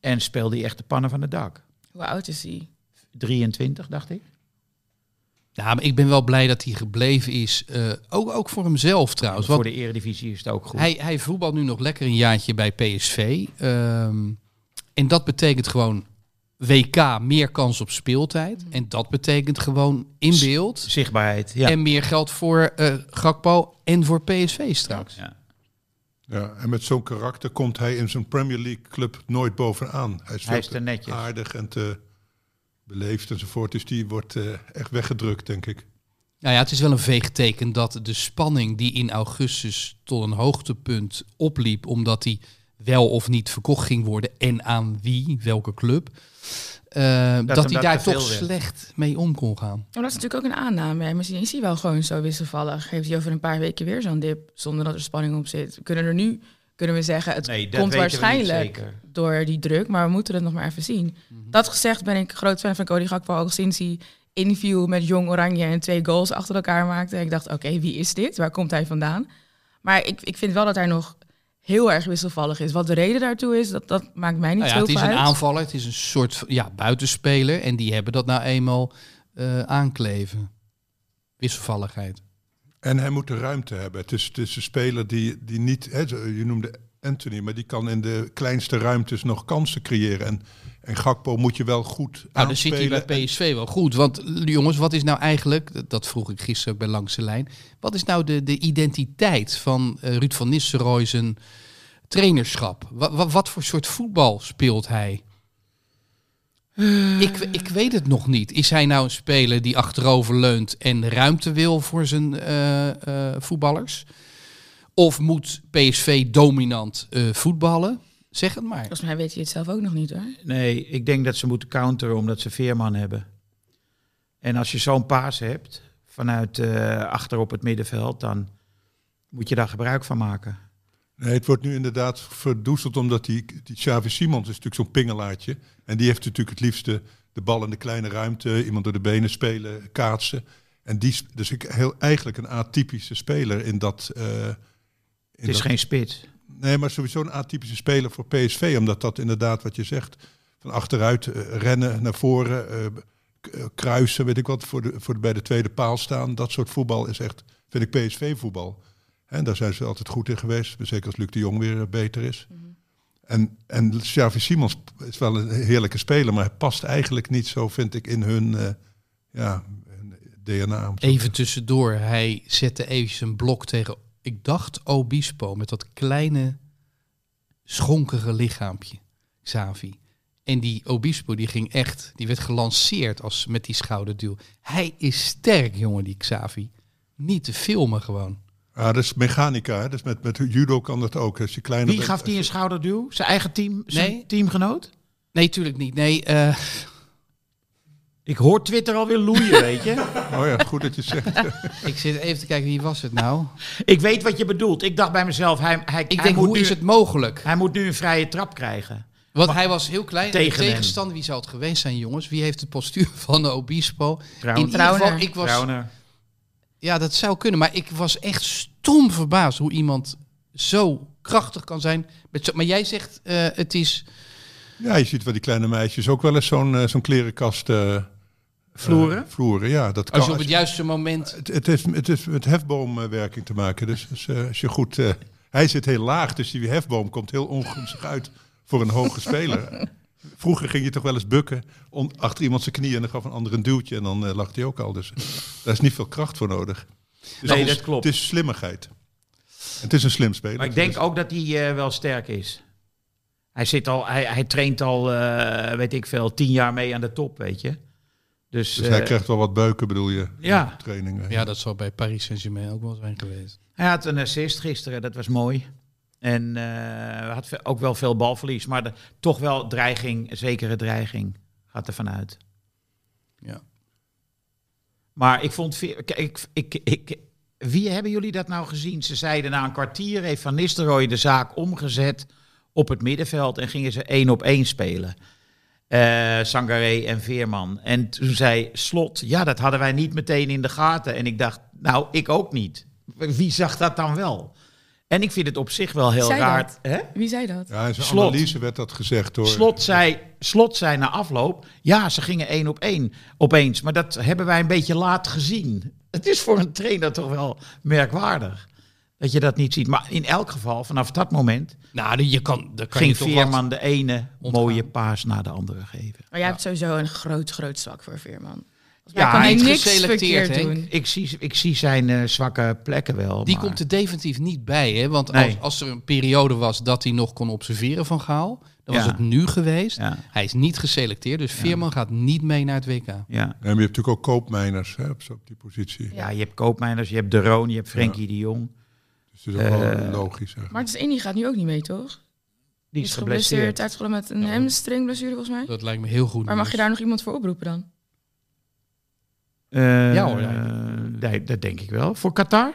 Speaker 1: En speelde hij echt de pannen van het dak.
Speaker 4: Hoe oud is hij?
Speaker 1: 23, dacht ik.
Speaker 3: Nou, maar ik ben wel blij dat hij gebleven is. eh, ook, ook voor hemzelf trouwens.
Speaker 1: Voor
Speaker 3: Want
Speaker 1: de eredivisie is het ook goed.
Speaker 3: hij, hij voetbalt nu nog lekker een jaartje bij PSV. Ehm, en dat betekent gewoon WK, meer kans op speeltijd.
Speaker 1: Mm.
Speaker 3: En dat betekent gewoon in beeld.
Speaker 1: Zichtbaarheid, ja.
Speaker 3: En meer geld voor eh Gakpo en voor PSV straks.
Speaker 1: Ja.
Speaker 5: Ja, en met zo'n karakter komt hij in zijn Premier League club nooit bovenaan. Hij is, veel
Speaker 1: Hij is
Speaker 5: te
Speaker 1: te netjes.
Speaker 5: aardig en te beleefd enzovoort. Dus die wordt eh, echt weggedrukt, denk ik.
Speaker 3: Nou ja, het is wel een veeg teken dat de spanning die in augustus tot een hoogtepunt opliep, omdat die wel of niet verkocht ging worden en aan wie, welke club, eh, dat,
Speaker 1: hem
Speaker 3: hij
Speaker 1: dat
Speaker 3: daar
Speaker 1: te veel
Speaker 3: toch
Speaker 1: werd.
Speaker 3: slecht mee om kon gaan.
Speaker 4: Maar Oh, dat is natuurlijk ook een aanname. Hè. Misschien is hij wel gewoon zo wisselvallig. Geeft hij over een paar weken weer zo'n dip zonder dat er spanning op zit. We Kunnen er nu kunnen we zeggen, het
Speaker 1: Nee, dat
Speaker 4: komt
Speaker 1: weten we niet
Speaker 4: waarschijnlijk
Speaker 1: zeker. Mhm.
Speaker 4: door die druk, maar we moeten het nog maar even zien. Dat gezegd ben ik groot fan van Cody Gakpo, ook sinds hij inviel met Jong Oranje en twee goals achter elkaar maakte. Ik dacht, oké, wie is dit? Waar komt hij vandaan? Maar ik, ik vind wel dat hij nog heel erg wisselvallig is. Wat de reden daartoe is, dat, dat maakt mij niet
Speaker 3: Nou ja,
Speaker 4: heel
Speaker 3: het
Speaker 4: veel
Speaker 3: is een
Speaker 4: uit.
Speaker 3: aanvaller, het is een soort van- ja, buitenspeler en die hebben dat nou eenmaal eh, aankleven. Wisselvalligheid.
Speaker 5: En hij moet de ruimte hebben. Het is, het is een speler die, die niet, hè, zo- je noemde Anthony, maar die kan in de kleinste ruimtes nog kansen creëren. En, en Gakpo moet je wel goed
Speaker 3: Nou, dan zit
Speaker 5: aanspelen.
Speaker 3: hij bij PSV wel goed. Want l- jongens, wat is nou eigenlijk, dat- dat vroeg ik gisteren ook bij Langs de Lijn, wat is nou de, de identiteit van eh, Ruud van Nistelrooy zijn trainerschap? Wa- wa- wat voor soort voetbal speelt hij? Ik, we- ik weet het nog niet. Is hij nou een speler die achterover leunt en ruimte wil voor zijn eh, eh, voetballers? Of moet PSV dominant eh, voetballen? Zeg het maar.
Speaker 4: Volgens mij weet hij het zelf ook nog niet hoor.
Speaker 1: Nee, ik denk dat ze moeten counteren omdat ze Veerman hebben. En als je zo'n paas hebt vanuit eh, achter op het middenveld, dan moet je daar gebruik van maken.
Speaker 5: Nee, het wordt nu inderdaad verdoezeld omdat die, die Xavi Simons is natuurlijk zo'n pingelaartje. En die heeft natuurlijk het liefste de bal in de kleine ruimte, iemand door de benen spelen, kaatsen. En die is dus ik, heel, eigenlijk een atypische speler in dat... eh, in
Speaker 1: Het is
Speaker 5: dat-
Speaker 1: geen spits.
Speaker 5: Nee, maar sowieso een atypische speler voor PSV. Omdat dat inderdaad wat je zegt. Van achteruit eh, rennen, naar voren, eh, k- eh, kruisen, weet ik wat. Voor de, voor de- bij de tweede paal staan. Dat soort voetbal is echt, vind ik, PSV-voetbal. En daar zijn ze altijd goed in geweest. Zeker als Luc de Jong weer eh, beter is. En, en Xavi Simons is wel een heerlijke speler. Maar hij past eigenlijk niet zo, vind ik, in hun, eh, ja, hun DNA. om zo te
Speaker 3: Even tussendoor, hij zette eventjes een blok tegen, ik dacht Obispo, met dat kleine schonkere lichaampje, Xavi. En die Obispo, die ging echt, die werd gelanceerd als, met die schouderduw. Hij is sterk, jongen, die Xavi. Niet te filmen gewoon.
Speaker 5: Ja, Ah, dat is mechanica. Hè? Dus met, met judo kan dat ook. Als je kleiner
Speaker 1: Wie
Speaker 5: bent-
Speaker 1: gaf die een schouderduw? Zijn eigen team, zijn
Speaker 3: Nee.
Speaker 1: teamgenoot?
Speaker 3: Nee, tuurlijk niet. Nee, eh, <laughs>
Speaker 1: Ik hoor Twitter alweer <laughs> loeien, weet je?
Speaker 5: Oh ja, goed dat je het zegt.
Speaker 3: ik zit even te kijken, wie was het nou?
Speaker 1: Ik weet wat je bedoelt. Ik dacht bij mezelf, hij, hij,
Speaker 3: Ik
Speaker 1: hij
Speaker 3: denk,
Speaker 1: moet
Speaker 3: hoe
Speaker 1: nu,
Speaker 3: is het mogelijk?
Speaker 1: hij moet nu een vrije trap krijgen.
Speaker 3: Want hij was heel klein. De
Speaker 1: Tegen hem.
Speaker 3: tegenstander, wie zou het geweest zijn, jongens? Wie heeft het postuur van de Obispo?
Speaker 1: Trouwens.
Speaker 3: In ieder geval,
Speaker 4: Trauner.
Speaker 3: ik was...
Speaker 1: Trauner.
Speaker 3: Ja, dat zou kunnen. Maar ik was echt stom verbaasd hoe iemand zo krachtig kan zijn. Met zo, maar jij zegt, eh, het is...
Speaker 5: Ja, je ziet wel die kleine meisjes ook wel eens zo'n eh, zo'n klerenkast... eh,
Speaker 1: Vloeren?
Speaker 5: eh, vloeren, ja. Dat kan,
Speaker 3: Als je op het juiste moment...
Speaker 5: het, het, heeft, het heeft met hefboomwerking te maken. Dus als, eh, als je goed... eh, hij zit heel laag, dus die hefboom komt heel ongunstig uit voor een hoge speler. <laughs> Vroeger ging je toch wel eens bukken on- achter iemand zijn knieën en dan gaf een ander een duwtje en dan eh, lag hij ook al. Dus daar is niet veel kracht voor nodig. Dus
Speaker 1: Nee,
Speaker 5: het is-
Speaker 1: dat klopt.
Speaker 5: Het is slimmigheid. Het is een slim speler.
Speaker 1: Maar ik
Speaker 5: Dus-
Speaker 1: denk ook dat hij eh, wel sterk is. Hij, zit al, hij, hij traint al, eh, weet ik veel, tien jaar mee aan de top, weet je. Dus,
Speaker 5: Dus
Speaker 1: eh,
Speaker 5: hij krijgt wel wat beuken, bedoel je?
Speaker 1: Ja.
Speaker 5: op Trainingen.
Speaker 3: Ja, dat zou bij Paris Saint-Germain ook wel zijn geweest.
Speaker 1: hij had een assist gisteren, dat was mooi. En eh, had ve- ook wel veel balverlies, maar de- toch wel dreiging, zekere dreiging, gaat er vanuit.
Speaker 3: Ja.
Speaker 1: Maar ik vond, Ve- kijk, ik, ik, ik, wie hebben jullie dat nou gezien? Ze zeiden na een kwartier heeft Van Nistelrooy de zaak omgezet op het middenveld en gingen ze één op één spelen. Eh Sangaré en Veerman. En toen zei Slot, ja, dat hadden wij niet meteen in de gaten. En ik dacht, nou, ik ook niet. Wie zag dat dan wel? En ik vind het op zich wel heel
Speaker 4: Zij
Speaker 1: raar.
Speaker 4: dat?
Speaker 1: Hè?
Speaker 4: Wie zei dat?
Speaker 5: Ja, in zijn
Speaker 1: Slot.
Speaker 5: analyse werd dat gezegd door.
Speaker 1: Slot zei, Slot zei na afloop, ja, ze gingen één op één opeens. Maar dat hebben wij een beetje laat gezien. Het is voor een trainer toch wel merkwaardig dat je dat niet ziet. Maar in elk geval, vanaf dat moment
Speaker 3: Nou, je kan, daar kan
Speaker 1: ging
Speaker 3: je toch wat-
Speaker 1: Veerman de ene mooie paas na de andere geven.
Speaker 4: Maar jij hebt sowieso een groot, groot zwak voor Veerman.
Speaker 1: Ja,
Speaker 4: Ja, kan
Speaker 1: hij
Speaker 4: hij
Speaker 3: is
Speaker 4: niks
Speaker 3: geselecteerd,
Speaker 4: verkeerd
Speaker 3: Henk.
Speaker 4: doen.
Speaker 1: Ik zie, ik zie zijn eh, zwakke plekken wel.
Speaker 3: Die
Speaker 1: maar-
Speaker 3: komt er definitief niet bij, hè? Want
Speaker 1: Nee.
Speaker 3: als, als er een periode was dat hij nog kon observeren van Gaal, dan was
Speaker 1: Ja.
Speaker 3: het nu geweest.
Speaker 1: Ja.
Speaker 3: Hij is niet geselecteerd, dus Veerman gaat niet mee naar het WK.
Speaker 1: Ja.
Speaker 5: Nee, maar je hebt natuurlijk ook koopmijners hè, op, zo- op die positie.
Speaker 1: ja, je hebt Koopmeiners, je hebt De Roon, je hebt Frenkie de Jong.
Speaker 5: Dus dat is ook wel logisch. Hè.
Speaker 4: Martens Indy gaat nu ook niet mee, toch?
Speaker 1: Die is geblesseerd.
Speaker 4: uitgevallen met een hamstringblessure volgens mij.
Speaker 3: Dat lijkt me heel goed.
Speaker 4: Maar mag je
Speaker 3: nieuws.
Speaker 4: daar nog iemand voor oproepen dan?
Speaker 1: Eh,
Speaker 3: Ja, hoor,
Speaker 1: nee, dat denk ik wel. Voor Qatar?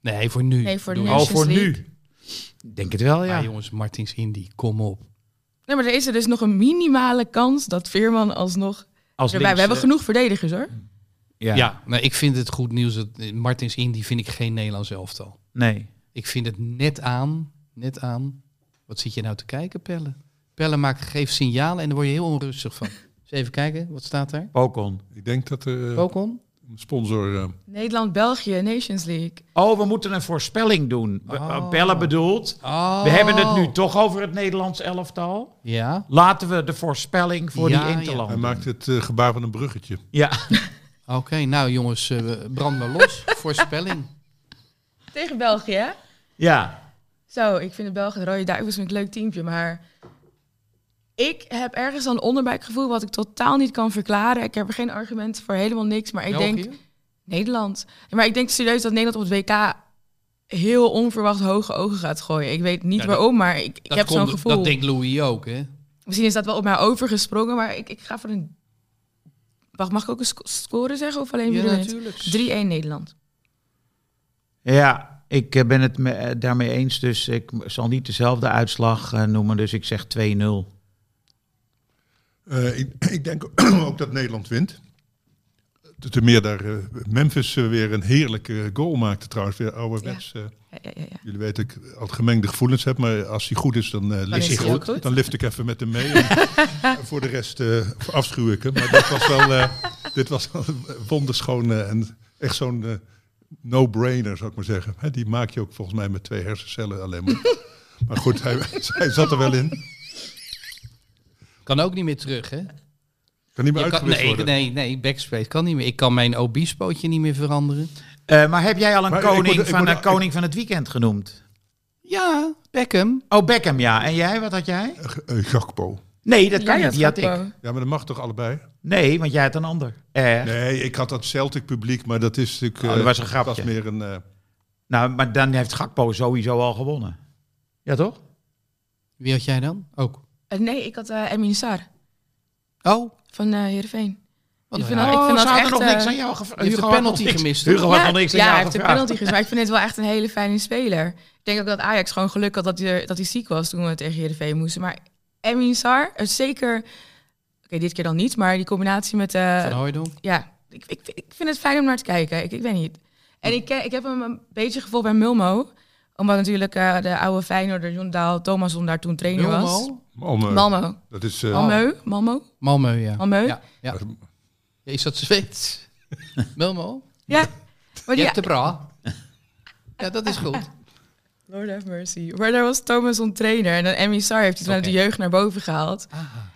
Speaker 3: Nee, voor nu.
Speaker 4: Nee, voor
Speaker 3: Doe
Speaker 4: nu.
Speaker 3: eens.
Speaker 1: Al
Speaker 4: Nations
Speaker 1: Oh, voor
Speaker 4: League.
Speaker 1: nu. Denk het wel, ja.
Speaker 3: Maar jongens, Martins Indy, kom op.
Speaker 4: Nee, maar er is er dus nog een minimale kans dat Veerman alsnog
Speaker 1: Als
Speaker 4: erbij... We
Speaker 1: links,
Speaker 4: hebben
Speaker 1: eh,
Speaker 4: genoeg verdedigers, hoor.
Speaker 1: Ja.
Speaker 3: Ja, maar ik vind het goed nieuws dat eh, Martins Indy vind ik geen Nederlands elftal.
Speaker 1: Nee.
Speaker 3: Ik vind het net aan, net aan. Wat zit je nou te kijken, Pelle? Pelle maakt, geeft signalen en daar word je heel onrustig van. Eens even kijken, wat staat daar?
Speaker 1: Pokon. Oh.
Speaker 5: Ik denk dat er. eh,
Speaker 3: Pokon?
Speaker 5: Sponsor. eh,
Speaker 4: Nederland-België, Nations League.
Speaker 1: Oh, we moeten een voorspelling doen. We-
Speaker 3: Oh.
Speaker 1: Bellen bedoelt. We hebben het nu toch over het Nederlands elftal.
Speaker 3: Ja.
Speaker 1: Laten we de voorspelling voor
Speaker 3: Ja,
Speaker 1: die
Speaker 3: ja.
Speaker 1: Interland.
Speaker 5: hij
Speaker 1: doen.
Speaker 5: maakt het eh, gebaar van een bruggetje.
Speaker 1: Ja.
Speaker 3: Oké, nou jongens, eh, we- brand maar los. <laughs> Voorspelling.
Speaker 4: Tegen België, hè?
Speaker 1: ja.
Speaker 4: Zo, ik vind de Belgen, de Rode Duivels, een leuk teampje, maar... Ik heb ergens een onderbuikgevoel wat ik totaal niet kan verklaren. Ik heb er geen argument voor, helemaal niks. Maar ik denk
Speaker 3: België?
Speaker 4: Nederland. Maar ik denk serieus dat Nederland op het WK heel onverwacht hoge ogen gaat gooien. Ik weet niet
Speaker 3: Ja, dat-
Speaker 4: waarom, maar ik, ik
Speaker 3: Dat
Speaker 4: heb zo'n
Speaker 3: komt-
Speaker 4: gevoel.
Speaker 3: Dat denkt Louis ook, hè?
Speaker 4: Misschien is dat wel op mij overgesprongen, maar ik, ik ga voor een... Wacht, mag ik ook een sco- score zeggen of
Speaker 3: Ja,
Speaker 4: alleen wie er wint?
Speaker 3: natuurlijk.
Speaker 4: 3-1 Nederland.
Speaker 1: ja, ik eh, ben het me- eh, daarmee eens. Dus ik m- zal niet dezelfde uitslag eh, noemen. Dus ik zeg 2-0.
Speaker 5: Eh, ik, ik denk <clears throat> ook dat Nederland wint. Ten meer daar eh, Memphis eh, weer een heerlijke goal maakte trouwens. Weer ouderwets. eh,
Speaker 4: Ja, ja, ja, ja.
Speaker 5: jullie weten dat ik altijd gemengde gevoelens heb. Maar als hij goed is, dan eh lift
Speaker 4: is
Speaker 5: ik
Speaker 4: hij ook goed.
Speaker 5: Dan lift ik even met hem mee. en, en voor de rest eh, afschuw ik hem. Maar dit was wel, eh, dit was wel <laughs> een wonderschoon eh, en echt zo'n eh, no-brainer, zou ik maar zeggen. Hè, die maak je ook volgens mij met twee hersencellen alleen maar. maar goed, hij, hij zat er wel in.
Speaker 3: Kan ook niet meer terug, hè?
Speaker 5: Kan niet meer
Speaker 3: Je kan-
Speaker 5: uitgewist
Speaker 3: nee,
Speaker 5: worden.
Speaker 3: nee, nee, backspace kan niet meer. Ik kan mijn obispootje niet meer veranderen.
Speaker 1: Eh, maar heb jij al een
Speaker 5: Maar ik
Speaker 1: koning,
Speaker 5: moet- ik
Speaker 1: van,
Speaker 5: moet-
Speaker 1: een koning van het weekend genoemd?
Speaker 3: Ja, Beckham.
Speaker 1: Oh, Beckham, ja. En jij, wat had jij?
Speaker 5: Eh, Gakpo.
Speaker 1: Nee, dat kan
Speaker 4: Jij
Speaker 1: niet. Die had
Speaker 4: Gakpo.
Speaker 1: ik.
Speaker 5: Ja, maar dat mag toch allebei?
Speaker 1: Nee, want jij had een ander. Eh,
Speaker 5: Nee, ik had dat Celtic publiek, maar dat is natuurlijk.
Speaker 1: Oh,
Speaker 5: eh,
Speaker 1: dat was een grapje.
Speaker 5: was meer een. eh,
Speaker 1: Nou, maar dan heeft Gakpo sowieso al gewonnen. Ja, toch?
Speaker 3: Wie had jij dan? Ook.
Speaker 4: Eh, nee, ik had eh Emin Sar
Speaker 3: Oh,
Speaker 4: van eh Heerenveen.
Speaker 3: wat
Speaker 4: Ik
Speaker 3: een
Speaker 4: vind
Speaker 3: raar.
Speaker 4: dat-
Speaker 1: Oh, ze
Speaker 4: dat
Speaker 1: hadden
Speaker 4: echt,
Speaker 1: nog
Speaker 4: eh,
Speaker 1: niks aan jou gevraagd.
Speaker 3: Je hebt een penalty gemist.
Speaker 1: Hugo
Speaker 3: toch?
Speaker 1: had
Speaker 4: Ja,
Speaker 1: nog niks aan
Speaker 4: ja,
Speaker 1: jou
Speaker 4: hij heeft de
Speaker 1: gevraagd.
Speaker 4: penalty gezien. Maar ik vind dit wel echt een hele fijne speler. Ik denk ook dat Ajax gewoon geluk had dat hij, er- dat hij ziek was toen we tegen Heerenveen moesten. Maar Emin Sar, eh, zeker... Oké, dit keer dan niet, maar die combinatie met... eh,
Speaker 3: Van Hooijdonk.
Speaker 4: ja, ik, ik, ik vind het fijn om naar te kijken. Ik, ik weet niet. En ik, eh, ik heb hem een beetje gevolgd bij Mulmo. Omdat natuurlijk eh, de oude Feyenoorder John Daal Thomasson daar toen trainer was.
Speaker 3: Mulmo?
Speaker 5: Malmö.
Speaker 4: Malmo.
Speaker 5: Dat is. eh,
Speaker 4: Malmo. Malmo.
Speaker 3: Malmö, ja.
Speaker 4: Malmö?
Speaker 3: Ja, ja. Ja, Is dat Zweeds? Mulmo?
Speaker 4: Ja.
Speaker 3: <laughs>
Speaker 4: Maar
Speaker 3: Je
Speaker 4: die,
Speaker 3: hebt de bra. Ja, dat is goed.
Speaker 4: Lord have mercy. Maar daar was Thomasson trainer. En dan Emmy Sar heeft hij toen uit de
Speaker 3: Oké. Ah.
Speaker 4: jeugd naar boven gehaald.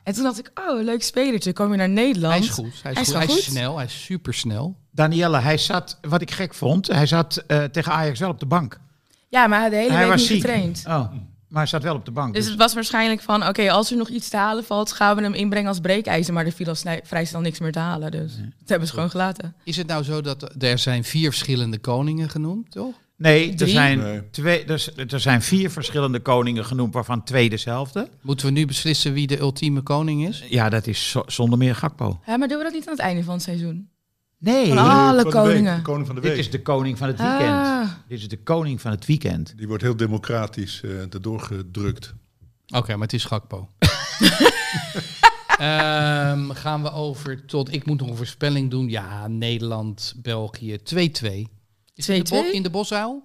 Speaker 4: En toen dacht ik, oh, een leuk spelertje. Kwam je naar Nederland.
Speaker 3: Hij is goed. Hij is,
Speaker 4: Hij is
Speaker 3: goed.
Speaker 4: wel
Speaker 3: Hij is
Speaker 4: goed.
Speaker 3: snel. Hij is supersnel.
Speaker 1: Danielle, hij zat, wat ik gek vond, hij zat eh, tegen Ajax wel op de bank.
Speaker 4: Ja, maar hij had de hele
Speaker 1: hij
Speaker 4: week
Speaker 1: was
Speaker 4: niet
Speaker 1: ziek.
Speaker 4: getraind.
Speaker 1: Oh, maar hij zat wel op de bank.
Speaker 4: Dus
Speaker 1: dus-
Speaker 4: het was waarschijnlijk van, oké, als er nog iets te halen valt, gaan we hem inbrengen als breekijzer. Maar er viel al snij- vrij snel niks meer te halen. Dus dat hebben ze gewoon gelaten.
Speaker 3: Is het nou zo dat er zijn vier verschillende koningen genoemd, toch?
Speaker 1: nee, er
Speaker 4: drie?
Speaker 1: zijn,
Speaker 5: Nee.
Speaker 1: Twee, er, z- er zijn vier verschillende koningen genoemd, waarvan twee dezelfde.
Speaker 3: Moeten we nu beslissen wie de ultieme koning is?
Speaker 1: Ja, dat is zo- zonder meer Gakpo.
Speaker 4: Hè, maar doen we dat niet aan het einde van het seizoen?
Speaker 1: Nee,
Speaker 4: Van alle
Speaker 5: van de week,
Speaker 4: koningen.
Speaker 5: de koning van de
Speaker 1: dit
Speaker 5: week.
Speaker 1: is de koning van het weekend.
Speaker 4: Ah.
Speaker 1: Dit is de koning van het weekend.
Speaker 5: Die wordt heel democratisch eh erdoor gedrukt.
Speaker 3: Oké, maar het is
Speaker 4: <laughs>
Speaker 3: Gakpo. Ehm, gaan we over tot... Ik moet nog een voorspelling doen. Ja, Nederland, België, 2-2. Is het in de bo-
Speaker 4: 2-2?
Speaker 3: In de Bosuil?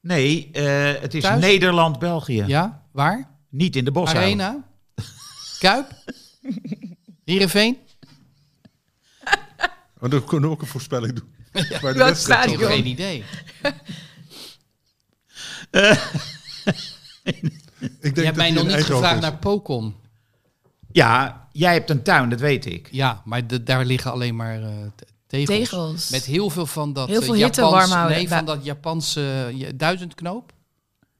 Speaker 1: Nee, eh, het is
Speaker 3: Thuis?
Speaker 1: Nederland-België.
Speaker 3: Ja. Waar?
Speaker 1: Niet in de bos.
Speaker 3: Arena? Kuip? Heerenveen?
Speaker 5: Maar dan kunnen we ook een voorspelling doen. Bij de
Speaker 4: Welk
Speaker 5: wedstrijd
Speaker 3: Ik
Speaker 5: toch?
Speaker 4: stadion?
Speaker 3: heb geen idee.
Speaker 5: Ik denk
Speaker 3: Je
Speaker 5: dat
Speaker 3: hebt mij
Speaker 5: die
Speaker 3: nog
Speaker 5: in
Speaker 3: niet
Speaker 5: Eindhoven
Speaker 3: gevraagd
Speaker 5: is.
Speaker 3: naar Pokon.
Speaker 1: Ja, jij hebt een tuin, dat weet ik.
Speaker 3: Ja, maar de- daar liggen alleen maar eh, te- tegels.
Speaker 4: Tegels.
Speaker 3: Met heel veel van dat
Speaker 4: Heel
Speaker 3: eh,
Speaker 4: veel
Speaker 3: Japans,
Speaker 4: hitte warm houden.
Speaker 3: Nee, van dat Japanse eh, je- duizendknoop.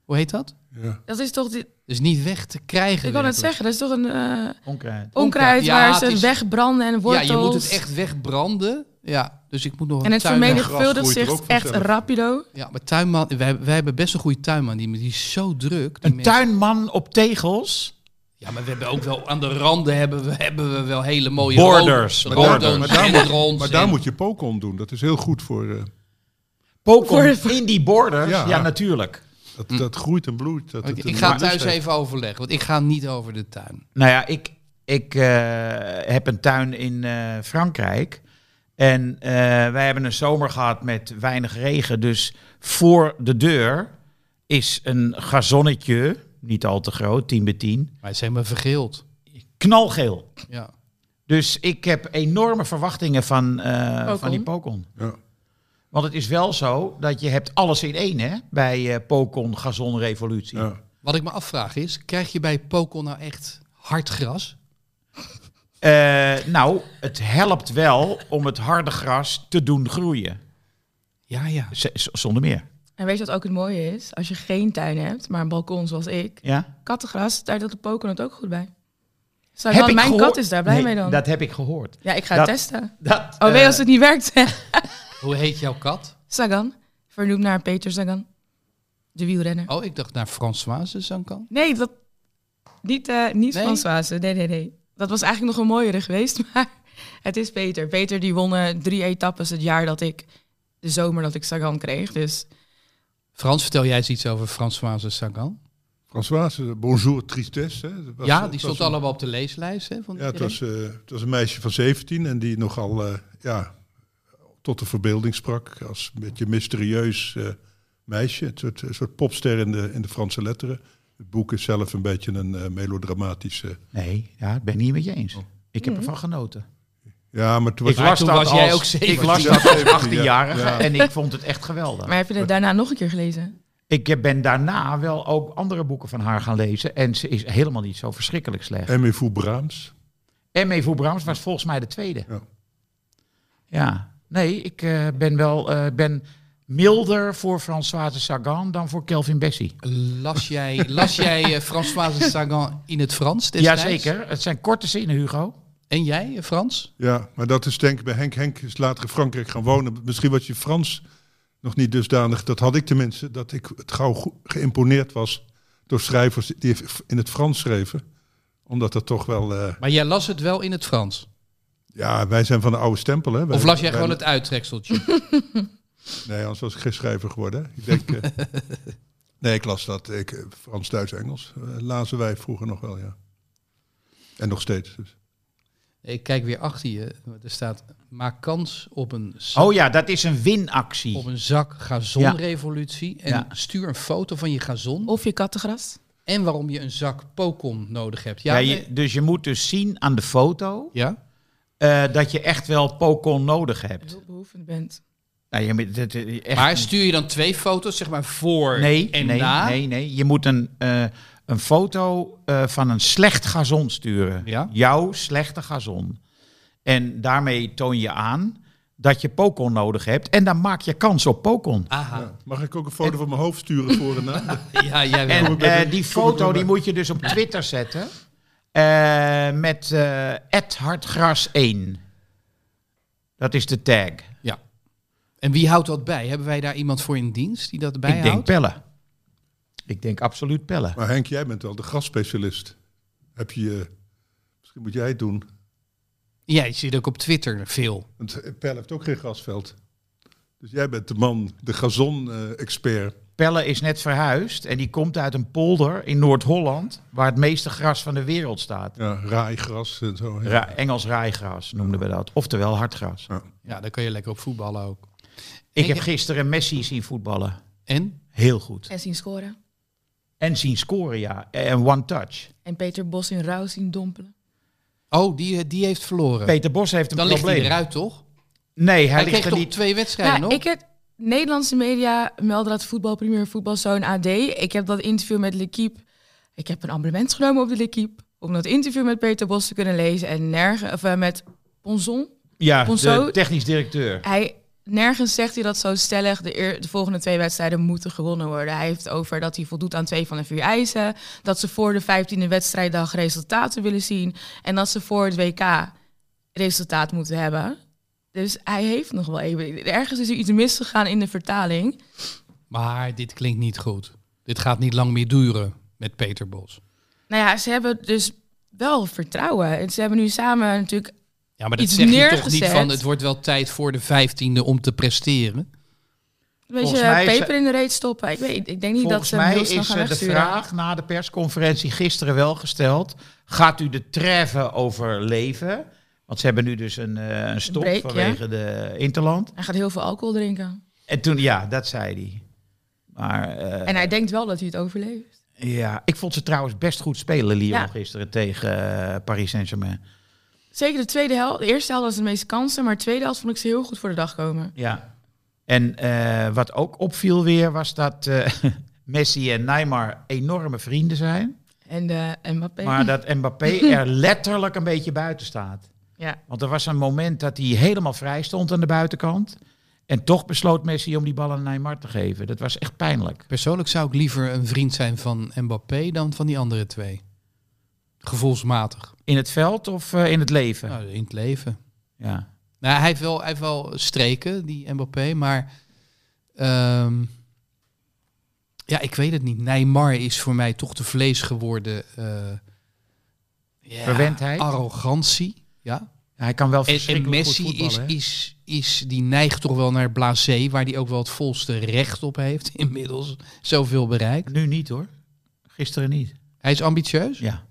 Speaker 3: Hoe heet dat?
Speaker 5: Ja.
Speaker 4: Dat is toch... die-
Speaker 3: Dus niet weg te krijgen.
Speaker 4: ik kan het
Speaker 3: werkelijk.
Speaker 4: zeggen, dat is toch een eh,
Speaker 1: Onkruid.
Speaker 4: onkruid
Speaker 3: Ja,
Speaker 4: waar
Speaker 3: het
Speaker 4: ze
Speaker 3: is-
Speaker 4: wegbranden en wortels.
Speaker 3: Ja, je moet het echt wegbranden. Ja, dus ik moet nog
Speaker 4: En
Speaker 3: een
Speaker 4: het
Speaker 3: tuinman-
Speaker 4: vermenigvuldigt
Speaker 5: Gras groeit er
Speaker 4: zich
Speaker 5: ook
Speaker 4: echt
Speaker 5: vanzelf.
Speaker 4: rapido.
Speaker 3: Ja, maar tuinman, wij, hebben- wij hebben best een goede tuinman. Die, die is zo druk. die
Speaker 1: Een
Speaker 3: mensen.
Speaker 1: tuinman op tegels?
Speaker 3: Ja, maar we hebben ook wel aan de randen hebben we, hebben we wel hele mooie
Speaker 1: Borders,
Speaker 3: rond-
Speaker 5: Maar daar,
Speaker 3: rondons
Speaker 5: maar daar
Speaker 3: en
Speaker 5: moet,
Speaker 3: rons
Speaker 5: maar daar
Speaker 3: en-
Speaker 5: moet je pokon doen. Dat is heel goed voor. eh,
Speaker 1: Pokémon
Speaker 4: Voor de-
Speaker 1: in die borders?
Speaker 5: Ja.
Speaker 1: Ja, natuurlijk.
Speaker 5: dat, dat groeit en bloeit. Dat
Speaker 3: Hm. Oké,
Speaker 5: het een
Speaker 3: ik ga
Speaker 5: lust
Speaker 3: thuis
Speaker 5: heeft.
Speaker 3: even overleggen, want ik ga niet over de tuin.
Speaker 1: Nou ja, ik, ik eh, heb een tuin in eh, Frankrijk. En eh, wij hebben een zomer gehad met weinig regen. Dus voor de deur is een gazonnetje, niet al te groot, 10 bij 10,
Speaker 3: Maar het is helemaal vergeeld.
Speaker 1: knalgeel.
Speaker 3: Ja.
Speaker 1: Dus ik heb enorme verwachtingen van, eh,
Speaker 4: Pokon.
Speaker 1: van die Pokon.
Speaker 5: Ja.
Speaker 1: Want het is wel zo dat je hebt alles in één hè, bij eh Pokon Gazon Revolutie.
Speaker 5: Ja.
Speaker 3: Wat ik me afvraag is, krijg je bij Pokon nou echt hard gras?
Speaker 1: Eh, nou, het helpt wel om het harde gras te doen groeien.
Speaker 3: Ja, ja.
Speaker 1: Z- z- zonder meer.
Speaker 4: En weet je wat ook het mooie is? Als je geen tuin hebt, maar een balkon zoals ik,
Speaker 1: Ja?
Speaker 4: kattengras, daar doet de poker het ook goed bij. Dus daar
Speaker 1: Heb
Speaker 4: kan-
Speaker 1: ik
Speaker 4: mijn
Speaker 1: gehoor-
Speaker 4: kat is daar blij
Speaker 1: Nee,
Speaker 4: mee dan.
Speaker 1: Dat heb ik gehoord.
Speaker 4: ja, ik ga
Speaker 1: dat-
Speaker 4: het testen.
Speaker 1: Dat,
Speaker 4: Oh, weet
Speaker 1: eh,
Speaker 4: je als het niet werkt? <laughs> zeg.
Speaker 3: Hoe heet jouw kat?
Speaker 4: Sagan, vernoemd naar Peter Sagan, de wielrenner.
Speaker 3: Oh, ik dacht naar Françoise Zankan.
Speaker 4: Nee, dat, niet, eh niet
Speaker 3: Nee?
Speaker 4: Françoise. Nee, nee, nee. Dat was eigenlijk nog een mooiere <laughs> geweest, maar het is Peter. Peter die won eh, drie etappes het jaar dat ik, de zomer dat ik Sagan kreeg. Dus
Speaker 3: Frans, vertel jij eens iets over Françoise Zankan?
Speaker 5: Françoise, bonjour tristesse. Hè. Dat was-
Speaker 3: Ja,
Speaker 5: dat
Speaker 3: die
Speaker 5: was
Speaker 3: stond
Speaker 5: een-
Speaker 3: allemaal op de leeslijst. Hè, van
Speaker 5: Ja, het
Speaker 3: iedereen.
Speaker 5: was, eh, het was een meisje van 17 en die nogal eh, ja, tot de verbeelding sprak. Als een beetje mysterieus eh, meisje. Een soort, een soort popster in de, in de Franse letteren. Het boek is zelf een beetje een eh, melodramatische.
Speaker 1: Nee, ja, ik ben het niet met je eens. Ik
Speaker 4: Hmm.
Speaker 1: heb ervan genoten.
Speaker 5: Ja, maar toen was
Speaker 3: Maar toen was jij ook 17.
Speaker 1: ik las dat
Speaker 5: Ja,
Speaker 1: als
Speaker 5: 17, ja.
Speaker 1: 18-jarige
Speaker 5: Ja.
Speaker 1: en ik vond het echt geweldig.
Speaker 4: Maar heb je dat daarna nog een keer gelezen?
Speaker 1: Ik ben daarna wel ook andere boeken van haar gaan lezen. En ze is helemaal niet zo verschrikkelijk slecht.
Speaker 5: Aimé Fou Brahms.
Speaker 1: M.E. voor Brahms was volgens mij de tweede.
Speaker 5: Ja.
Speaker 1: Ja. Nee, ik eh, ben wel eh, ben milder voor Françoise Sagan dan voor Kelvin Bessie.
Speaker 3: Las jij, las jij eh, Françoise Sagan in het Frans destijds?
Speaker 1: Jazeker, het zijn korte zinnen, Hugo.
Speaker 3: En jij, eh, Frans?
Speaker 5: Ja, maar dat is denk ik bij Henk. Henk is later in Frankrijk gaan wonen. Misschien was je Frans nog niet dusdanig. Dat had ik tenminste. Dat ik het gauw go- geïmponeerd was door schrijvers die in het Frans schreven. Omdat dat toch wel... eh,
Speaker 3: Maar jij las het wel in het Frans?
Speaker 5: Ja, wij zijn van de oude stempel. Hè? Wij-
Speaker 3: Of las jij
Speaker 5: wij-
Speaker 3: gewoon het uittrekseltje? <laughs>
Speaker 5: Nee, anders was ik geen schrijver geworden. hè. Ik
Speaker 3: <laughs>
Speaker 5: denk, eh, nee, ik las dat. Ik, eh, Frans, Duits, Engels. eh, lazen wij vroeger nog wel, ja. En nog steeds. Dus.
Speaker 3: Ik kijk weer achter je. Er staat, maak kans op een, zak,
Speaker 1: Oh ja, dat is een winactie.
Speaker 3: op een zak gazonrevolutie. En
Speaker 1: Ja.
Speaker 3: stuur een foto van je gazon.
Speaker 4: Of je kattengras?
Speaker 3: En waarom je een zak pokon nodig hebt.
Speaker 1: Ja,
Speaker 3: Ja,
Speaker 1: je-
Speaker 3: eh,
Speaker 1: dus je moet dus zien aan de foto
Speaker 3: ja?
Speaker 1: eh, dat je echt wel Pokon nodig hebt.
Speaker 4: Hulpbehoevend bent.
Speaker 1: Nou, je, moet- dat- eh, echt,
Speaker 3: Maar stuur je dan twee foto's, zeg maar, voor
Speaker 1: nee,
Speaker 3: en
Speaker 1: nee,
Speaker 3: na?
Speaker 1: nee, nee. Je moet een, eh, een foto eh, van een slecht gazon sturen.
Speaker 3: Ja.
Speaker 1: Jouw slechte gazon. En daarmee toon je aan dat je Pokon nodig hebt. En dan maak je kans op Pokon.
Speaker 3: Aha,
Speaker 5: Mag ik ook een foto van mijn hoofd sturen voor en
Speaker 3: <laughs>
Speaker 5: na?
Speaker 3: ja, jij wel.
Speaker 1: En
Speaker 5: ik met
Speaker 1: eh, die
Speaker 5: een- kom ik
Speaker 1: foto
Speaker 5: met
Speaker 1: die
Speaker 5: een-
Speaker 1: moet je dus
Speaker 5: <laughs>
Speaker 1: op Twitter zetten. eh, met eh @hartgras1. Dat is de tag.
Speaker 3: ja. En wie houdt dat bij? Hebben wij daar iemand voor in dienst die dat
Speaker 1: Ik denk
Speaker 3: bijhoudt?
Speaker 1: pellen. Ik denk absoluut pellen.
Speaker 5: Maar Henk, jij bent wel de grasspecialist. Heb je... eh, misschien moet jij het doen.
Speaker 3: Ja, je ziet ook op Twitter veel.
Speaker 5: Want eh, Pel heeft ook geen grasveld. Dus jij bent de man, de gazon-expert.
Speaker 1: Pelle is net verhuisd en die komt uit een polder in Noord-Holland, waar het meeste gras van de wereld staat.
Speaker 5: ja, raaigras en zo. hè.
Speaker 1: Ra- Engels raaigras noemden we dat, oftewel hardgras.
Speaker 3: Ja, daar kan je lekker op voetballen ook.
Speaker 1: Ik heb gisteren Messi zien voetballen.
Speaker 3: En?
Speaker 1: Heel goed.
Speaker 4: En zien scoren.
Speaker 1: En zien scoren, ja. En one touch.
Speaker 4: En Peter Bos in rouw zien dompelen.
Speaker 3: Oh, die, die heeft verloren.
Speaker 1: Peter Bos heeft een
Speaker 3: dan ligt
Speaker 1: probleem.
Speaker 3: hij eruit, toch?
Speaker 1: Nee, hij,
Speaker 3: Hij,
Speaker 1: ligt
Speaker 3: kreeg
Speaker 1: er
Speaker 3: toch
Speaker 1: niet.
Speaker 3: twee
Speaker 4: Ja,
Speaker 3: wedstrijden nog?
Speaker 4: Nou, ik heb Nederlandse media melden dat voetbal, premier voetbal, zo'n AD. Ik heb dat interview met L'Equipe. Ik heb een abonnement genomen op de L'Equipe. Om dat interview met Peter Bos te kunnen lezen. En nergens, of eh, met Ponzon.
Speaker 1: Ja,
Speaker 4: Ponzo-
Speaker 1: de technisch directeur.
Speaker 4: Hij, nergens zegt hij dat zo stellig. De, eer- de volgende twee wedstrijden moeten gewonnen worden. Hij heeft over dat hij voldoet aan twee van de vier eisen. Dat ze voor de vijftiende wedstrijddag resultaten willen zien. En dat ze voor het WK resultaat moeten hebben. Dus hij heeft nog wel even. Ergens is er iets misgegaan in de vertaling.
Speaker 3: Maar dit klinkt niet goed. Dit gaat niet lang meer duren met Peter Bos.
Speaker 4: Nou ja, ze hebben dus wel vertrouwen. En ze hebben nu samen natuurlijk.
Speaker 3: Ja, maar dat
Speaker 4: Iets
Speaker 3: zeg je toch niet
Speaker 4: neergezet.
Speaker 3: van... het wordt wel tijd voor de vijftiende om te presteren.
Speaker 4: Een
Speaker 1: Volgens
Speaker 4: beetje
Speaker 1: mij is-
Speaker 4: peper in de reet stoppen. Ik, weet, ik denk niet dat
Speaker 1: Volgens
Speaker 4: ze hem
Speaker 1: mij
Speaker 4: heel snel
Speaker 1: is
Speaker 4: gaan
Speaker 1: eh, de
Speaker 4: wegsturen.
Speaker 1: vraag na de persconferentie gisteren wel gesteld. Gaat u de treffen overleven? Want ze hebben nu dus een, eh, een stop
Speaker 4: break, ja.
Speaker 1: vanwege de Interland.
Speaker 4: Hij gaat heel veel alcohol drinken.
Speaker 1: En toen, ja, dat zei hij. Maar eh,
Speaker 4: En hij denkt wel dat hij het overleeft.
Speaker 1: ja, ik vond ze trouwens best goed spelen, Lyon,
Speaker 4: Ja.
Speaker 1: gisteren tegen eh, Paris Saint-Germain.
Speaker 4: Zeker de tweede helft. De eerste helft was de meeste kansen, maar de tweede helft vond ik ze heel goed voor de dag komen.
Speaker 1: Ja. En eh, wat ook opviel weer was dat eh, <laughs> Messi en Neymar enorme vrienden zijn.
Speaker 4: En, eh en Mbappé.
Speaker 1: Maar dat Mbappé er letterlijk een beetje buiten staat.
Speaker 4: Ja.
Speaker 1: Want er was een moment dat hij helemaal vrij stond aan de buitenkant. En toch besloot Messi om die bal aan Neymar te geven. Dat was echt pijnlijk.
Speaker 3: Persoonlijk zou ik liever een vriend zijn van Mbappé dan van die andere twee. Gevoelsmatig.
Speaker 1: In het veld of eh, in het leven?
Speaker 3: Nou, in het leven.
Speaker 1: Ja.
Speaker 3: Nou, hij, heeft wel, hij heeft wel streken, die Mbappé, maar... ehm, ja, ik weet het niet. Neymar is voor mij toch te vlees geworden... eh, ja,
Speaker 1: Verwendheid?
Speaker 3: Arrogantie, ja.
Speaker 1: Hij kan wel
Speaker 3: En, en
Speaker 1: verschrikkelijk goed
Speaker 3: Messi is,
Speaker 1: voetballen. hè?
Speaker 3: is, is, die neigt toch wel naar blasé, waar hij ook wel het volste recht op heeft <laughs> inmiddels. Zoveel bereikt.
Speaker 1: Nu niet hoor. Gisteren niet.
Speaker 3: Hij is ambitieus.
Speaker 1: Ja.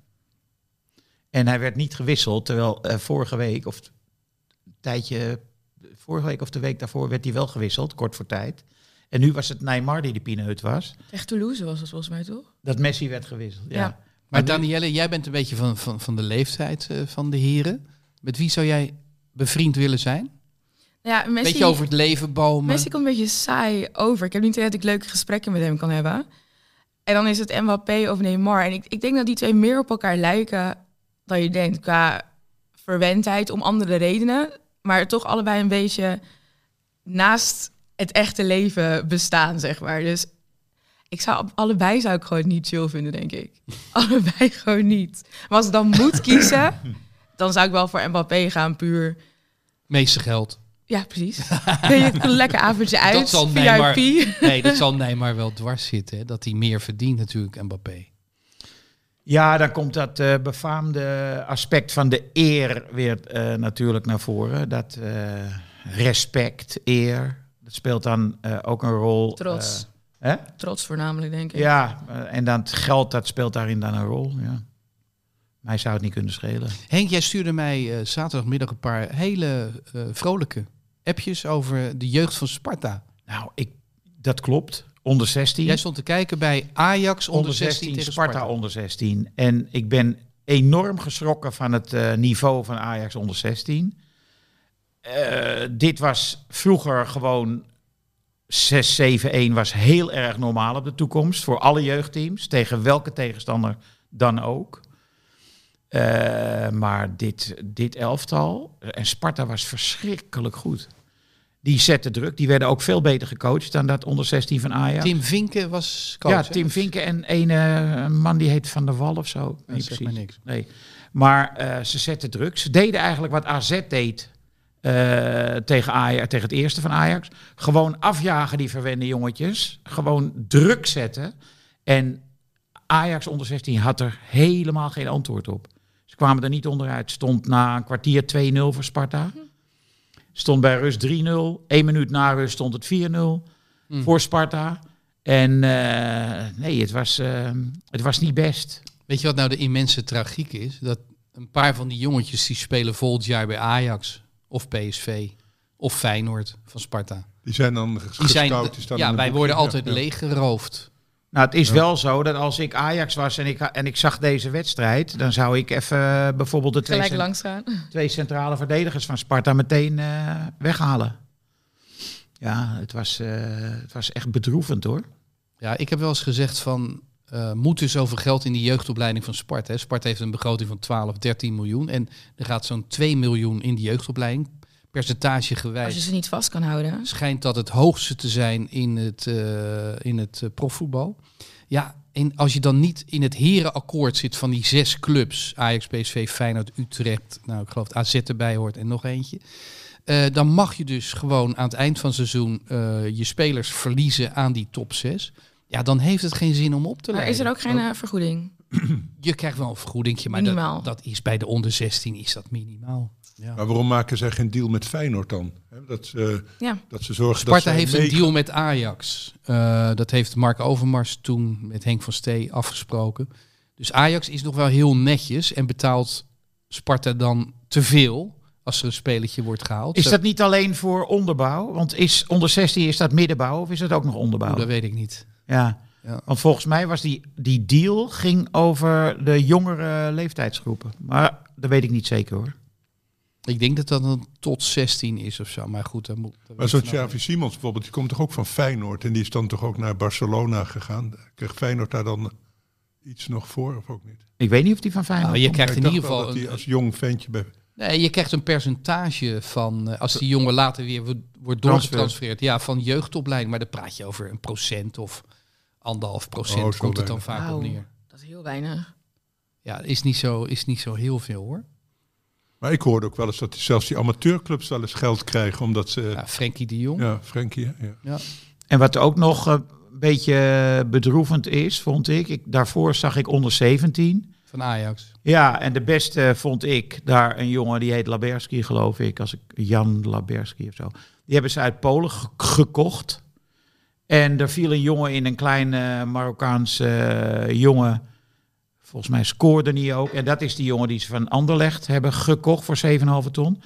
Speaker 1: En hij werd niet gewisseld, terwijl eh, vorige week of t- een tijdje vorige week of de week daarvoor werd hij wel gewisseld, kort voor tijd. En nu was het Neymar die de pineut was.
Speaker 4: Echt Toulouse was het volgens mij toch?
Speaker 1: Dat Messi werd gewisseld. Ja.
Speaker 4: Ja.
Speaker 3: Maar
Speaker 1: Maar nu-
Speaker 3: Danielle, jij bent een beetje van, van, van de leeftijd eh, van de heren. Met wie zou jij bevriend willen zijn?
Speaker 4: Nou Ja, Messi,
Speaker 3: beetje over het leven bomen.
Speaker 4: Messi komt een beetje saai over. Ik heb niet het idee dat ik leuke gesprekken met hem kan hebben. En dan is het Mbappé of Neymar. En ik, ik denk dat die twee meer op elkaar lijken dan je denkt. Qua verwendheid om andere redenen. Maar toch allebei een beetje naast het echte leven bestaan, zeg maar. Dus ik zou, allebei zou ik gewoon niet chill vinden, denk ik. allebei gewoon niet. Maar als ik dan moet kiezen, dan zou ik wel voor Mbappé gaan, puur...
Speaker 3: Meeste geld.
Speaker 4: Ja, precies. <laughs> Nee, het kan een lekker avondje uit.
Speaker 3: zal
Speaker 4: VIP.
Speaker 3: Neymar- Nee, dat zal Neymar wel dwars zitten. Hè? Dat hij meer verdient natuurlijk, Mbappé.
Speaker 1: Ja, dan komt dat eh, befaamde aspect van de eer weer eh, natuurlijk naar voren. Dat eh, respect, eer, dat speelt dan eh, ook een rol.
Speaker 4: Trots.
Speaker 1: eh, hè?
Speaker 4: Trots voornamelijk, denk ik.
Speaker 1: Ja, eh, en dan het geld, dat speelt daarin dan een rol. Ja. Mij zou het niet kunnen schelen.
Speaker 3: Henk, jij stuurde mij eh, zaterdagmiddag een paar hele eh, vrolijke appjes over de jeugd van Sparta.
Speaker 1: Nou, ik, dat klopt. Onder 16.
Speaker 3: Jij stond te kijken bij Ajax onder, 16, tegen
Speaker 1: Sparta,
Speaker 3: Sparta.
Speaker 1: onder 16. En ik ben enorm geschrokken van het eh, niveau van Ajax onder 16. Eh, dit was vroeger gewoon 6-7-1 was heel erg normaal op de toekomst voor alle jeugdteams, tegen welke tegenstander dan ook. Eh, maar dit, dit elftal, en Sparta was verschrikkelijk goed. Die zette druk, die werden ook veel beter gecoacht dan dat onder 16 van Ajax.
Speaker 3: Tim Vinken was coach.
Speaker 1: Ja,
Speaker 3: hè?
Speaker 1: Tim Vinken en een eh, man die heet Van der Wal of zo. Nee,
Speaker 3: zegt mij niks.
Speaker 1: Nee. Maar eh, ze zetten druk. Ze deden eigenlijk wat AZ deed eh, tegen, Ajax, tegen het eerste van Ajax. Gewoon afjagen die verwende jongetjes. Gewoon druk zetten. En Ajax onder 16 had er helemaal geen antwoord op. Ze kwamen er niet onderuit. Stond na een kwartier 2-0 voor Sparta. Stond bij rust 3-0. Eén minuut na rust stond het 4-0 voor Sparta. En eh, nee, het was, eh, het was niet best.
Speaker 3: Weet je wat nou de immense tragiek is? Dat een paar van die jongetjes die spelen volgend jaar bij Ajax of PSV of Feyenoord van Sparta.
Speaker 5: Die zijn dan
Speaker 3: Die
Speaker 5: gescout.
Speaker 3: zijn,
Speaker 5: die staan in
Speaker 3: ja, wij
Speaker 5: een boekje.
Speaker 3: worden
Speaker 5: Ja,
Speaker 3: altijd
Speaker 5: ja.
Speaker 3: leeggeroofd.
Speaker 1: Nou, het is wel zo dat als ik Ajax was en ik, ha- en ik zag deze wedstrijd, dan zou ik even eh, bijvoorbeeld de twee,
Speaker 4: Gelijk
Speaker 1: cen-
Speaker 4: langs gaan.
Speaker 1: twee centrale verdedigers van Sparta meteen eh, weghalen. Ja, het was, eh, het was echt bedroevend hoor.
Speaker 3: Ja, ik heb wel eens gezegd van... eh moet dus over geld in die jeugdopleiding van Sparta. Hè? Sparta heeft een begroting van 12, 13 miljoen. En er gaat zo'n 2 miljoen in die jeugdopleiding. Percentage
Speaker 4: Als je
Speaker 3: gewijs
Speaker 4: ze niet vast kan houden.
Speaker 3: schijnt dat het hoogste te zijn in het, eh, in het eh, profvoetbal. Ja, en als je dan niet in het herenakkoord zit van die zes clubs... Ajax, PSV, Feyenoord, Utrecht, nou ik geloof het AZ erbij hoort en nog eentje... eh, dan mag je dus gewoon aan het eind van het seizoen eh, je spelers verliezen aan die top 6. Ja, dan heeft het geen zin om op te
Speaker 4: Maar
Speaker 3: leiden.
Speaker 4: is er ook geen eh, vergoeding?
Speaker 3: Je krijgt wel een vergoedingje, maar
Speaker 4: Minimaal.
Speaker 3: dat, dat is bij de onder 16 is dat minimaal. Ja.
Speaker 5: Maar waarom maken zij geen deal met Feyenoord dan? Hè, Dat, ze, eh,
Speaker 4: Ja.
Speaker 5: dat ze zorgen dat
Speaker 3: Sparta
Speaker 5: zij
Speaker 3: heeft een
Speaker 5: mee-
Speaker 3: deal met Ajax. Eh, dat heeft Mark Overmars toen met Henk van Stee afgesproken. Dus Ajax is nog wel heel netjes en betaalt Sparta dan te veel als er een spelletje wordt gehaald.
Speaker 1: Is
Speaker 3: Zo-
Speaker 1: dat niet alleen voor onderbouw? Want is onder 16 is dat middenbouw of is dat ook nog
Speaker 3: Oeh,
Speaker 1: onderbouw?
Speaker 3: Nou, dat weet ik niet.
Speaker 1: Ja.
Speaker 3: Ja.
Speaker 1: Want volgens mij was die, die deal ging over de jongere leeftijdsgroepen. Maar dat weet ik niet zeker hoor.
Speaker 3: Ik denk dat dat dan tot 16 is of zo. Maar goed, dat moet. dat
Speaker 5: Maar
Speaker 3: weet
Speaker 5: zo'n
Speaker 3: ik nou
Speaker 5: Xavi Simons bijvoorbeeld, die komt toch ook van Feyenoord en die is dan toch ook naar Barcelona gegaan. Kreeg Feyenoord daar dan iets nog voor of ook niet?
Speaker 1: Ik weet niet of die van
Speaker 3: niet.
Speaker 1: Feyenoord
Speaker 3: Nou, je
Speaker 1: komt.
Speaker 3: krijgt
Speaker 5: Ik
Speaker 3: in
Speaker 5: dacht
Speaker 3: ieder
Speaker 5: wel
Speaker 3: geval
Speaker 5: dat
Speaker 3: een,
Speaker 5: hij als jong ventje bij
Speaker 3: Nee, je krijgt een percentage van, eh, als die jongen later weer wo-
Speaker 1: Transfer.
Speaker 3: wordt doorgetransfereerd, ja, van jeugdopleiding. Maar dan praat je over een procent of anderhalf
Speaker 5: Oh,
Speaker 3: procent,
Speaker 5: zo
Speaker 3: komt het Nou dan vaak
Speaker 4: Wauw,
Speaker 3: op neer.
Speaker 4: dat is heel weinig.
Speaker 3: Ja, is niet, zo, is niet zo heel veel hoor.
Speaker 5: Maar ik hoorde ook wel eens dat die- zelfs die amateurclubs wel eens geld krijgen. Omdat ze. Ja,
Speaker 3: Ja, Frenkie de Jong.
Speaker 5: Frenkie. hè? Ja.
Speaker 1: En wat ook nog eh, een beetje bedroevend is, vond ik, ik. Daarvoor zag ik onder 17.
Speaker 3: Van Ajax.
Speaker 1: Ja, en de beste vond ik daar een jongen die heet Laberski, geloof ik. Als ik Jan Laberski of zo. Die hebben ze uit Polen ge- gekocht. En daar viel een jongen in, een kleine Marokkaanse eh, jongen. Volgens mij scoorde hij ook. En dat is die jongen die ze van Anderlecht hebben gekocht voor 7,5 ton.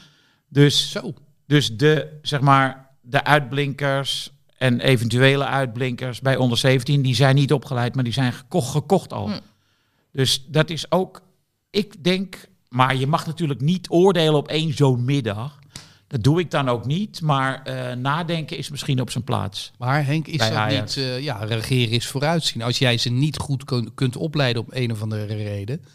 Speaker 1: Dus,
Speaker 3: Zo.
Speaker 1: dus de, zeg maar, de uitblinkers en eventuele uitblinkers bij onder 17, die zijn niet opgeleid, maar die zijn gekocht, gekocht al.
Speaker 4: Hm.
Speaker 1: Dus dat is ook, ik denk, maar je mag natuurlijk niet oordelen op één zo'n middag. Dat doe ik dan ook niet, maar eh, nadenken is misschien op zijn plaats.
Speaker 3: Maar Henk, is
Speaker 1: Bij
Speaker 3: dat
Speaker 1: Ajax.
Speaker 3: niet, eh, ja, regeren is vooruitzien. Als jij ze niet goed kun- kunt opleiden om een of andere reden,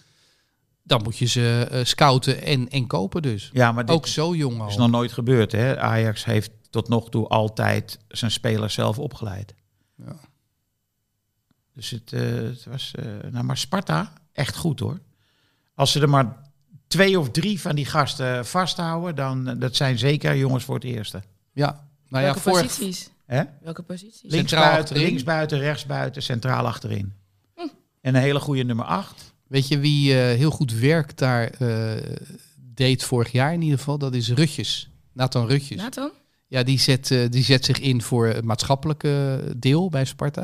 Speaker 3: dan moet je ze eh, scouten en, en kopen dus.
Speaker 1: Ja, maar dit
Speaker 3: Ook zo jong al.
Speaker 1: is nog nooit gebeurd. Hè? Ajax heeft tot nog toe altijd zijn spelers zelf opgeleid.
Speaker 3: Ja.
Speaker 1: Dus het, eh, het was, eh, nou maar Sparta, echt goed hoor. Als ze er maar twee of drie van die gasten vasthouden, dan eh, dat zijn zeker jongens voor het eerste.
Speaker 3: Ja, nou ja,
Speaker 4: Welke
Speaker 3: vorig,
Speaker 4: posities?
Speaker 1: Hè?
Speaker 4: Welke posities?
Speaker 3: Link-
Speaker 1: Links
Speaker 3: Centraal
Speaker 1: buiten,
Speaker 3: achterin. Hm.
Speaker 1: rechts buiten, centraal achterin. En een hele goede nummer 8.
Speaker 3: Weet je wie eh, heel goed werk daar eh, deed vorig jaar in ieder geval? Dat is Rutjes. Nathan Rutjes.
Speaker 4: Nathan?
Speaker 3: Ja, die zet, eh, die zet zich in voor het maatschappelijke deel bij Sparta.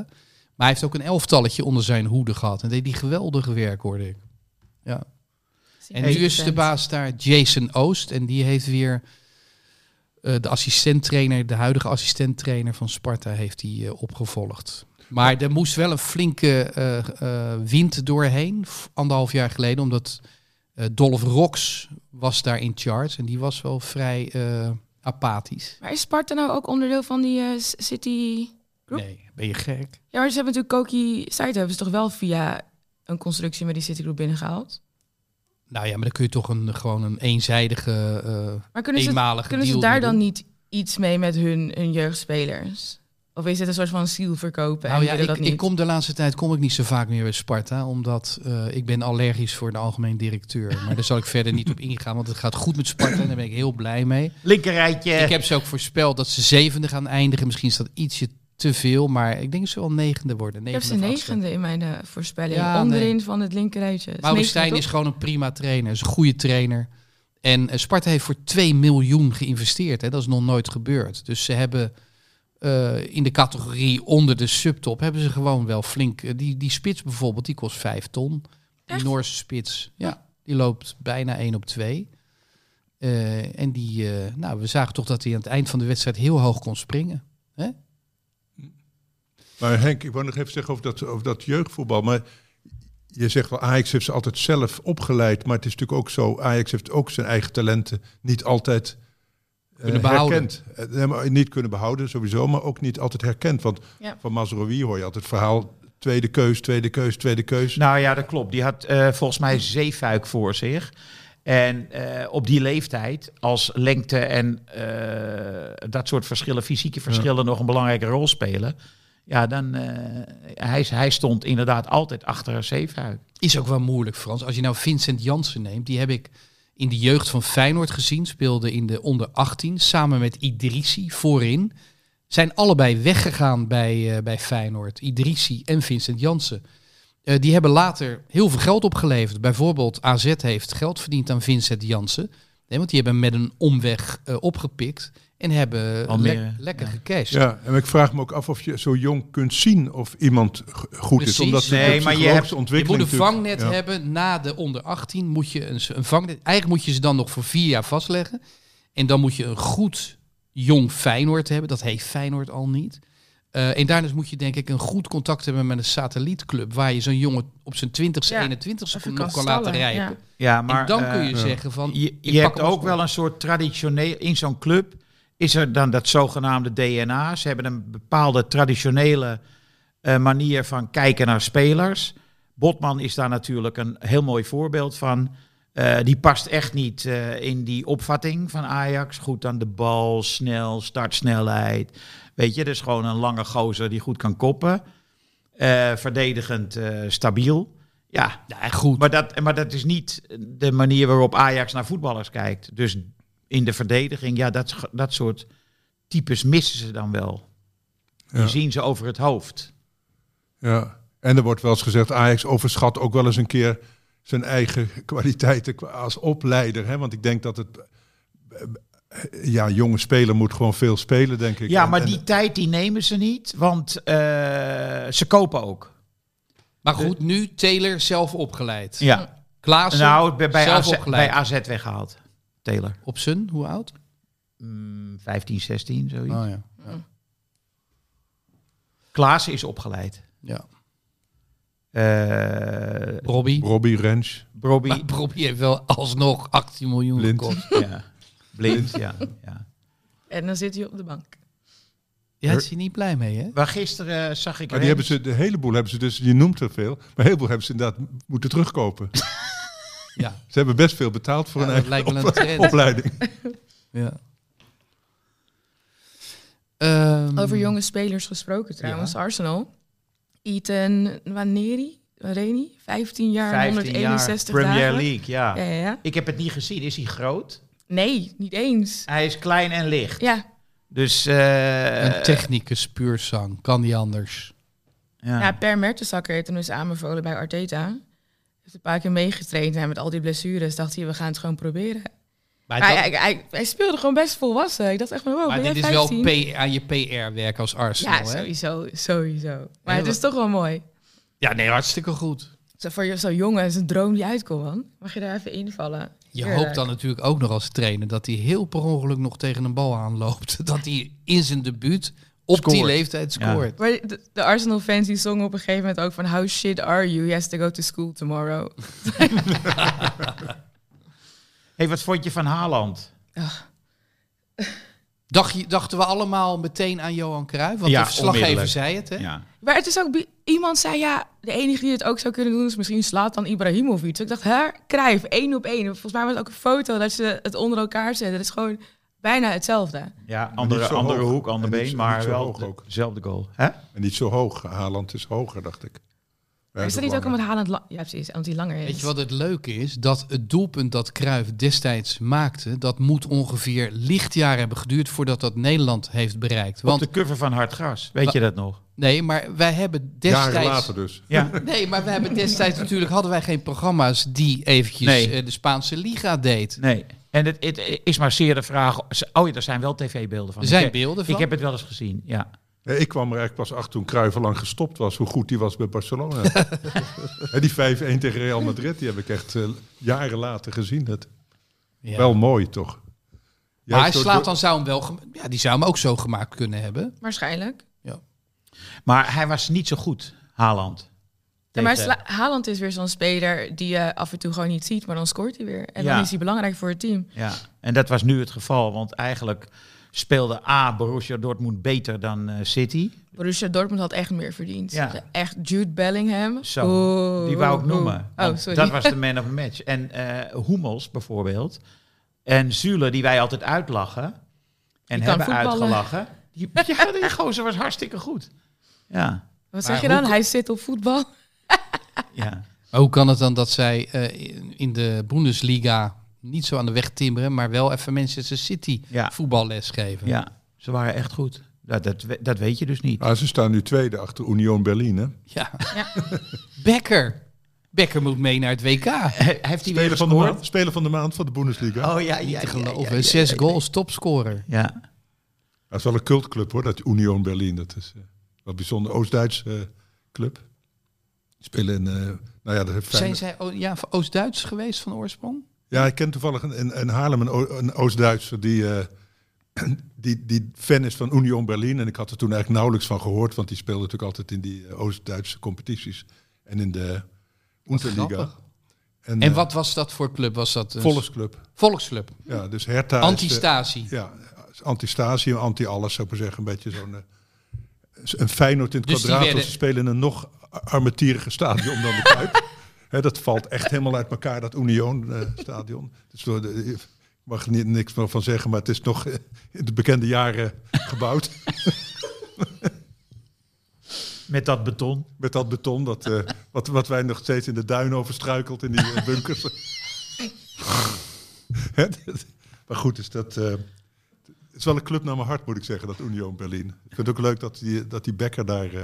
Speaker 3: Maar hij heeft ook een elftalletje onder zijn hoede gehad. En deed die geweldige werk, hoorde ik. En nu is de baas daar Jason Oost. En die heeft weer eh, de assistenttrainer, de huidige assistenttrainer van Sparta, heeft die eh, opgevolgd. Maar er moest wel een flinke eh, eh, wind doorheen, f- anderhalf jaar geleden, omdat eh, Dolph Rox was daar in charge. En die was wel vrij eh, apathisch.
Speaker 4: Maar is Sparta nou ook onderdeel van die eh, S- City... Klopt.
Speaker 3: Nee, ben je gek?
Speaker 4: Ja, maar ze hebben natuurlijk Koki Saito hebben ze toch wel via een constructie met die City Group binnengehaald?
Speaker 3: Nou ja, maar dan kun je toch een, gewoon een eenzijdige, eh
Speaker 4: Maar kunnen ze,
Speaker 3: eenmalige
Speaker 4: kunnen ze
Speaker 3: deal
Speaker 4: daar
Speaker 3: mee
Speaker 4: dan
Speaker 3: doen.
Speaker 4: niet iets mee met hun, hun jeugdspelers? Of is het een soort van ziel verkopen?
Speaker 3: Nou
Speaker 4: en
Speaker 3: ja,
Speaker 4: willen
Speaker 3: ik,
Speaker 4: dat niet?
Speaker 3: ik kom de laatste tijd kom ik niet zo vaak meer bij Sparta, omdat eh, ik ben allergisch voor de algemeen
Speaker 4: <laughs>
Speaker 3: directeur. Maar daar zal ik verder niet op ingaan, want het gaat goed met Sparta en daar ben ik heel blij mee.
Speaker 1: Linkerrijtje.
Speaker 3: Ik heb ze ook voorspeld dat ze zevende gaan eindigen. Misschien is dat ietsje te veel, maar ik denk dat ze wel negende worden.
Speaker 4: Ik heb
Speaker 3: Negende
Speaker 4: ze
Speaker 3: of achtste.
Speaker 4: negende in mijn eh, voorspelling.
Speaker 3: Ja,
Speaker 4: Onderin
Speaker 3: nee.
Speaker 4: van het linkerrijtje. Het is
Speaker 3: Maurits
Speaker 4: negende,
Speaker 3: Stijn is
Speaker 4: toch?
Speaker 3: gewoon een prima trainer, is een goede trainer. En eh, Sparta heeft voor 2 miljoen geïnvesteerd. Hè. Dat is nog nooit gebeurd. Dus ze hebben eh, in de categorie onder de subtop hebben ze gewoon wel flink. eh, die, die spits bijvoorbeeld, die kost 5 ton. Die
Speaker 4: Echt?
Speaker 3: Noorse spits, ja, die loopt bijna 1 op 2. Eh, en die, eh, nou, we zagen toch dat hij aan het eind van de wedstrijd heel hoog kon springen.
Speaker 5: Maar Henk, ik wou nog even zeggen over dat, over dat jeugdvoetbal. Maar je zegt wel, Ajax heeft ze altijd zelf opgeleid. Maar het is natuurlijk ook zo, Ajax heeft ook zijn eigen talenten niet altijd eh,
Speaker 3: Kunnen behouden.
Speaker 5: herkend. Eh, nee, maar niet kunnen behouden sowieso, maar ook niet altijd herkend. Want
Speaker 4: Ja.
Speaker 5: van Mazraoui hoor je altijd het verhaal, tweede keus, tweede keus, tweede keus.
Speaker 1: Nou ja, dat klopt. Die had eh, volgens mij zeefuik voor zich. En eh, op die leeftijd, als lengte en eh, dat soort verschillen, fysieke verschillen, nog een belangrijke rol spelen. Ja, dan, eh, hij, hij stond inderdaad altijd achter een zeefuik.
Speaker 3: Is ook wel moeilijk, Frans. Als je nou Vincent Jansen neemt, die heb ik in de jeugd van Feyenoord gezien. Speelde in de onder 18 samen met Idrissi voorin. Zijn allebei weggegaan bij, eh, bij Feyenoord. Idrissi en Vincent Jansen. Eh, die hebben later heel veel geld opgeleverd. Bijvoorbeeld AZ heeft geld verdiend aan Vincent Jansen. Nee, want die hebben hem met een omweg eh, opgepikt. En hebben
Speaker 1: Almere,
Speaker 3: lek- lekker
Speaker 1: ja.
Speaker 3: gecashed.
Speaker 5: Ja, en ik vraag me ook af of je zo jong kunt zien of iemand g- goed
Speaker 3: Precies.
Speaker 5: is. Omdat de-
Speaker 1: Nee,
Speaker 5: de
Speaker 1: maar je
Speaker 5: psychologische
Speaker 1: hebt-
Speaker 3: Je moet
Speaker 5: ontwikkeling
Speaker 3: een
Speaker 5: natuurlijk-
Speaker 3: vangnet
Speaker 5: ja.
Speaker 3: hebben na de onder 18. Moet je een, een vangnet, eigenlijk moet je ze dan nog voor vier jaar vastleggen. En dan moet je een goed jong Feyenoord hebben. Dat heeft Feyenoord al niet. Eh, en daarnaast moet je denk ik een goed contact hebben met een satellietclub... waar je zo'n jongen op zijn 20ste,
Speaker 4: Ja,
Speaker 3: 21ste
Speaker 4: Even
Speaker 3: nog kan
Speaker 4: stallen,
Speaker 3: laten rijpen.
Speaker 4: ja.
Speaker 1: Ja, maar,
Speaker 3: en dan
Speaker 1: eh,
Speaker 3: kun je
Speaker 5: ja.
Speaker 3: zeggen van...
Speaker 1: Je,
Speaker 3: ik
Speaker 1: je
Speaker 3: pak
Speaker 1: hebt
Speaker 3: hem als
Speaker 1: ook wel een soort traditioneel, in zo'n club is er dan dat zogenaamde DNA. Ze hebben een bepaalde traditionele eh, manier van kijken naar spelers. Botman is daar natuurlijk een heel mooi voorbeeld van. Eh, die past echt niet eh, in die opvatting van Ajax. Goed aan de bal, snel, startsnelheid. Weet je, dus gewoon een lange gozer die goed kan koppen. Eh, verdedigend eh, stabiel. Ja,
Speaker 3: Ja, goed.
Speaker 1: maar dat, maar dat is niet de manier waarop Ajax naar voetballers kijkt. Dus in de verdediging, ja, dat, dat soort types missen ze dan wel. Die
Speaker 5: Ja.
Speaker 1: zien ze over het hoofd.
Speaker 5: Ja. En er wordt wel eens gezegd, Ajax overschat ook wel eens een keer zijn eigen <laughs> kwaliteiten qua- als opleider. Hè? Want ik denk dat het... eh, Ja, jonge speler moet gewoon veel spelen, denk ik.
Speaker 1: Ja,
Speaker 5: En-
Speaker 1: maar
Speaker 5: en-
Speaker 1: die tijd die nemen ze niet, want eh, ze kopen ook.
Speaker 3: Maar goed, nu Taylor zelf opgeleid.
Speaker 1: Ja.
Speaker 3: Klaassen
Speaker 1: Nou, bij, bij,
Speaker 3: zelf
Speaker 1: AZ, bij
Speaker 3: opgeleid.
Speaker 1: AZ weggehaald. Taylor.
Speaker 3: Op zijn, hoe oud?
Speaker 1: Mm, 15, 16, zoiets.
Speaker 3: Oh, ja.
Speaker 1: Klaassen is opgeleid.
Speaker 3: ja.
Speaker 1: Eh
Speaker 3: Robbie.
Speaker 5: Robbie Rens.
Speaker 1: Robbie,
Speaker 3: Maar Robbie heeft wel alsnog 18 miljoen
Speaker 5: Blind.
Speaker 3: gekost.
Speaker 1: ja. Blind, ja. ja.
Speaker 4: En dan zit hij op de bank.
Speaker 3: Ja, daar is hij niet blij mee, hè?
Speaker 1: Maar gisteren eh, zag ik...
Speaker 5: Maar Oh, die hebben
Speaker 1: Rens-
Speaker 5: ze, de heleboel hebben ze dus, je noemt er veel, maar een heleboel hebben ze inderdaad moeten terugkopen.
Speaker 3: <laughs> Ja,
Speaker 5: Ze hebben best veel betaald voor
Speaker 3: Ja,
Speaker 5: een
Speaker 3: dat lijkt
Speaker 5: eigen
Speaker 3: me een
Speaker 5: op-
Speaker 3: trend.
Speaker 1: <laughs>
Speaker 5: opleiding.
Speaker 3: ja. Ehm,
Speaker 4: Over jonge spelers gesproken trouwens. Arsenal. Ethan Waneri, Reni, 15 jaar,
Speaker 1: 15 jaar,
Speaker 4: 161
Speaker 1: Premier
Speaker 4: dagen.
Speaker 1: League, ja.
Speaker 4: Ja, ja, ja.
Speaker 1: Ik heb het niet gezien. Is hij groot?
Speaker 4: Nee, niet eens.
Speaker 1: Hij is klein en licht.
Speaker 4: Ja,
Speaker 1: Dus eh,
Speaker 3: Een technicus puur zang, kan die anders?
Speaker 1: ja.
Speaker 4: Ja, Per Mertensakker heeft hem dus aanbevolen bij Arteta. Heeft een paar keer meegetraind en met al die blessures dacht hij, we gaan het gewoon proberen.
Speaker 3: Maar,
Speaker 4: hij,
Speaker 3: dat-
Speaker 4: hij, hij, hij speelde gewoon best volwassen. Ik dacht echt van, wow,
Speaker 3: maar
Speaker 4: ben
Speaker 3: dit
Speaker 4: jij
Speaker 3: is wel
Speaker 4: 15?
Speaker 3: P- aan je PR-werk als Arsenal,
Speaker 4: Ja,
Speaker 3: hè?
Speaker 4: sowieso, sowieso. Maar
Speaker 3: Heel
Speaker 4: het is toch wel mooi.
Speaker 3: Ja, nee, hartstikke goed.
Speaker 4: Zo, voor je- zo'n jongen is een droom die uitkomt, man. Mag je daar even invallen?
Speaker 3: Je
Speaker 4: Heerlijk.
Speaker 3: hoopt dan natuurlijk ook nog als trainer dat hij heel per ongeluk nog tegen een bal aanloopt. <laughs> Dat hij in zijn debuut op die
Speaker 1: Scoort.
Speaker 3: leeftijd
Speaker 1: Ja.
Speaker 3: scoort.
Speaker 4: Maar de, de Arsenal-fans die zongen op een gegeven moment ook van... How shit are you? Yes, to go to school tomorrow.
Speaker 1: Hey, wat vond je van Haaland?
Speaker 3: Dacht je, dachten we allemaal meteen aan Johan Cruijff? Want
Speaker 1: Ja,
Speaker 3: de verslaggever
Speaker 1: onmiddellijk.
Speaker 3: zei het, hè?
Speaker 4: Maar het is ook... bi- Iemand zei, ja, de enige die het ook zou kunnen doen... is misschien slaat dan Ibrahimovic. Ik dacht, hè, Cruijff, één op één. Volgens mij was het ook een foto dat ze het onder elkaar zetten. Dat is gewoon bijna hetzelfde.
Speaker 1: Ja, andere,
Speaker 5: niet zo
Speaker 1: andere
Speaker 5: hoog.
Speaker 1: hoek, ander
Speaker 5: En niet
Speaker 1: been,
Speaker 5: zo-
Speaker 1: maar
Speaker 5: niet zo
Speaker 1: wel
Speaker 5: hoog
Speaker 1: de-
Speaker 5: ook.
Speaker 1: dezelfde goal. Hè?
Speaker 5: En niet zo hoog. Haaland is hoger, dacht ik.
Speaker 4: Maar is dat
Speaker 5: dat
Speaker 4: niet ook omdat Haaland... la- Ja, precies, omdat hij langer is.
Speaker 3: Weet je wat het leuke is? Dat het doelpunt dat Cruijff destijds maakte, dat moet ongeveer lichtjaren hebben geduurd voordat dat Nederland heeft bereikt.
Speaker 1: Want,
Speaker 3: Want
Speaker 1: Op de cover van Hard Gras. Weet je dat
Speaker 5: <laughs>
Speaker 1: nog?
Speaker 3: nee, maar wij hebben
Speaker 5: Jaren
Speaker 3: destijds.
Speaker 5: later dus.
Speaker 1: Ja.
Speaker 3: Nee, maar wij hebben destijds natuurlijk hadden wij geen programma's die eventjes
Speaker 1: Nee.
Speaker 3: eh, de Spaanse Liga deed.
Speaker 1: Nee. En het, het is maar zeer de vraag... Oh ja, er zijn wel tv-beelden van.
Speaker 3: Er zijn
Speaker 1: Ik-
Speaker 3: beelden van.
Speaker 1: Ik heb het wel eens gezien, ja.
Speaker 5: Nee, ik kwam er eigenlijk pas achter toen Cruijff al lang gestopt was, hoe goed die was bij Barcelona. Hè, die 5-1 tegen Real Madrid, die heb ik echt eh, jaren later gezien. Dat,
Speaker 3: Ja.
Speaker 5: Wel mooi, toch?
Speaker 3: maar hij
Speaker 5: Juist door-
Speaker 3: slaat dan zou hem wel, gem- ja, die zou hem ook zo gemaakt kunnen hebben.
Speaker 4: Waarschijnlijk.
Speaker 1: Maar hij was niet zo goed, Haaland.
Speaker 4: Ja, maar
Speaker 1: Tegen-
Speaker 4: Sla- Haaland is weer zo'n speler die je af en toe gewoon niet ziet, maar dan scoort hij weer. En
Speaker 1: Ja.
Speaker 4: dan is hij belangrijk voor het team.
Speaker 1: Ja, en dat was nu het geval. Want eigenlijk speelde A, Borussia Dortmund beter dan eh, City.
Speaker 4: Borussia Dortmund had echt meer verdiend.
Speaker 1: Ja.
Speaker 4: Echt Jude Bellingham.
Speaker 1: Zo,
Speaker 4: Oeh,
Speaker 1: die wou ik
Speaker 4: oeh,
Speaker 1: noemen.
Speaker 4: oeh. Oh,
Speaker 1: want
Speaker 4: sorry.
Speaker 1: Dat was
Speaker 4: <laughs>
Speaker 1: de man of the match. En eh Hummels bijvoorbeeld. En Zule, die wij altijd uitlachen. En
Speaker 4: kan
Speaker 1: hebben
Speaker 4: voetballen.
Speaker 1: uitgelachen. Die, ja, die <laughs> gozer was hartstikke goed. Ja,
Speaker 4: Wat
Speaker 3: Maar
Speaker 4: zeg je
Speaker 3: hoe
Speaker 4: dan?
Speaker 3: ko-
Speaker 4: Hij zit op voetbal.
Speaker 1: ja.
Speaker 3: Maar hoe kan het dan dat zij eh, in- in de Bundesliga niet zo aan de weg timmeren, maar wel even Manchester City
Speaker 1: Ja.
Speaker 3: voetballes geven?
Speaker 1: ja ze waren echt goed. Dat, dat, we- dat weet je dus niet.
Speaker 5: Ah, ze staan nu tweede achter Union Berlin. Hè?
Speaker 3: Ja.
Speaker 4: Ja.
Speaker 3: <laughs> Becker. Becker moet mee naar het WK.
Speaker 1: He- Heeft hij weer
Speaker 5: Speler van, de
Speaker 1: gescoord?
Speaker 5: maand, speler van de maand van de Bundesliga.
Speaker 1: Oh ja, ja,
Speaker 3: Te
Speaker 1: ja,
Speaker 3: geloven.
Speaker 1: ja, ja,
Speaker 3: Zes
Speaker 1: ja.
Speaker 3: goals, topscorer.
Speaker 1: Ja.
Speaker 5: Dat is wel een cultclub hoor, dat Union Berlin. Dat is eh wat bijzonder. Oost-Duits eh, club. Die Spelen in, eh, nou ja, dat heeft
Speaker 3: Zijn
Speaker 5: Feyenoord-
Speaker 3: zij o- ja, van Oost-Duits geweest van oorsprong?
Speaker 5: Ja, ik ken toevallig een, een, een Haarlem, een, O- een Oost-Duitser, die eh, <clears throat> die, die fan is van Union Berlin. En ik had er toen eigenlijk nauwelijks van gehoord, want die speelde natuurlijk altijd in die eh, Oost-Duitse competities en in de Unterliga.
Speaker 3: grappig.
Speaker 5: eh,
Speaker 3: En wat dus? was dat voor club? Was dat een
Speaker 5: Volksclub.
Speaker 3: Volksclub.
Speaker 5: Ja, dus Hertha. is de-
Speaker 3: Antistatie.
Speaker 5: ja, anti-stasium, anti-alles zou ik maar zeggen. Een beetje zo'n eh, een Feyenoord in het
Speaker 3: Dus die
Speaker 5: kwadraat. want
Speaker 3: werden-
Speaker 5: Ze spelen in een nog armetierige
Speaker 3: <laughs>
Speaker 5: stadion dan de Kuip. Hè, dat valt echt helemaal uit elkaar, dat eh, Union-stadion. dus door de, ik mag er niet, niks meer van zeggen, maar het is nog eh, in de bekende jaren gebouwd.
Speaker 1: Met dat beton.
Speaker 5: Met dat beton, dat, eh, wat, wat wij nog steeds in de duin overstruikelt in die eh, bunkers. Hè, dat- maar goed, is dat. eh, het is wel een club naar mijn hart, moet ik zeggen, dat Union Berlin. Ik vind het ook leuk dat die, dat die Becker daar eh,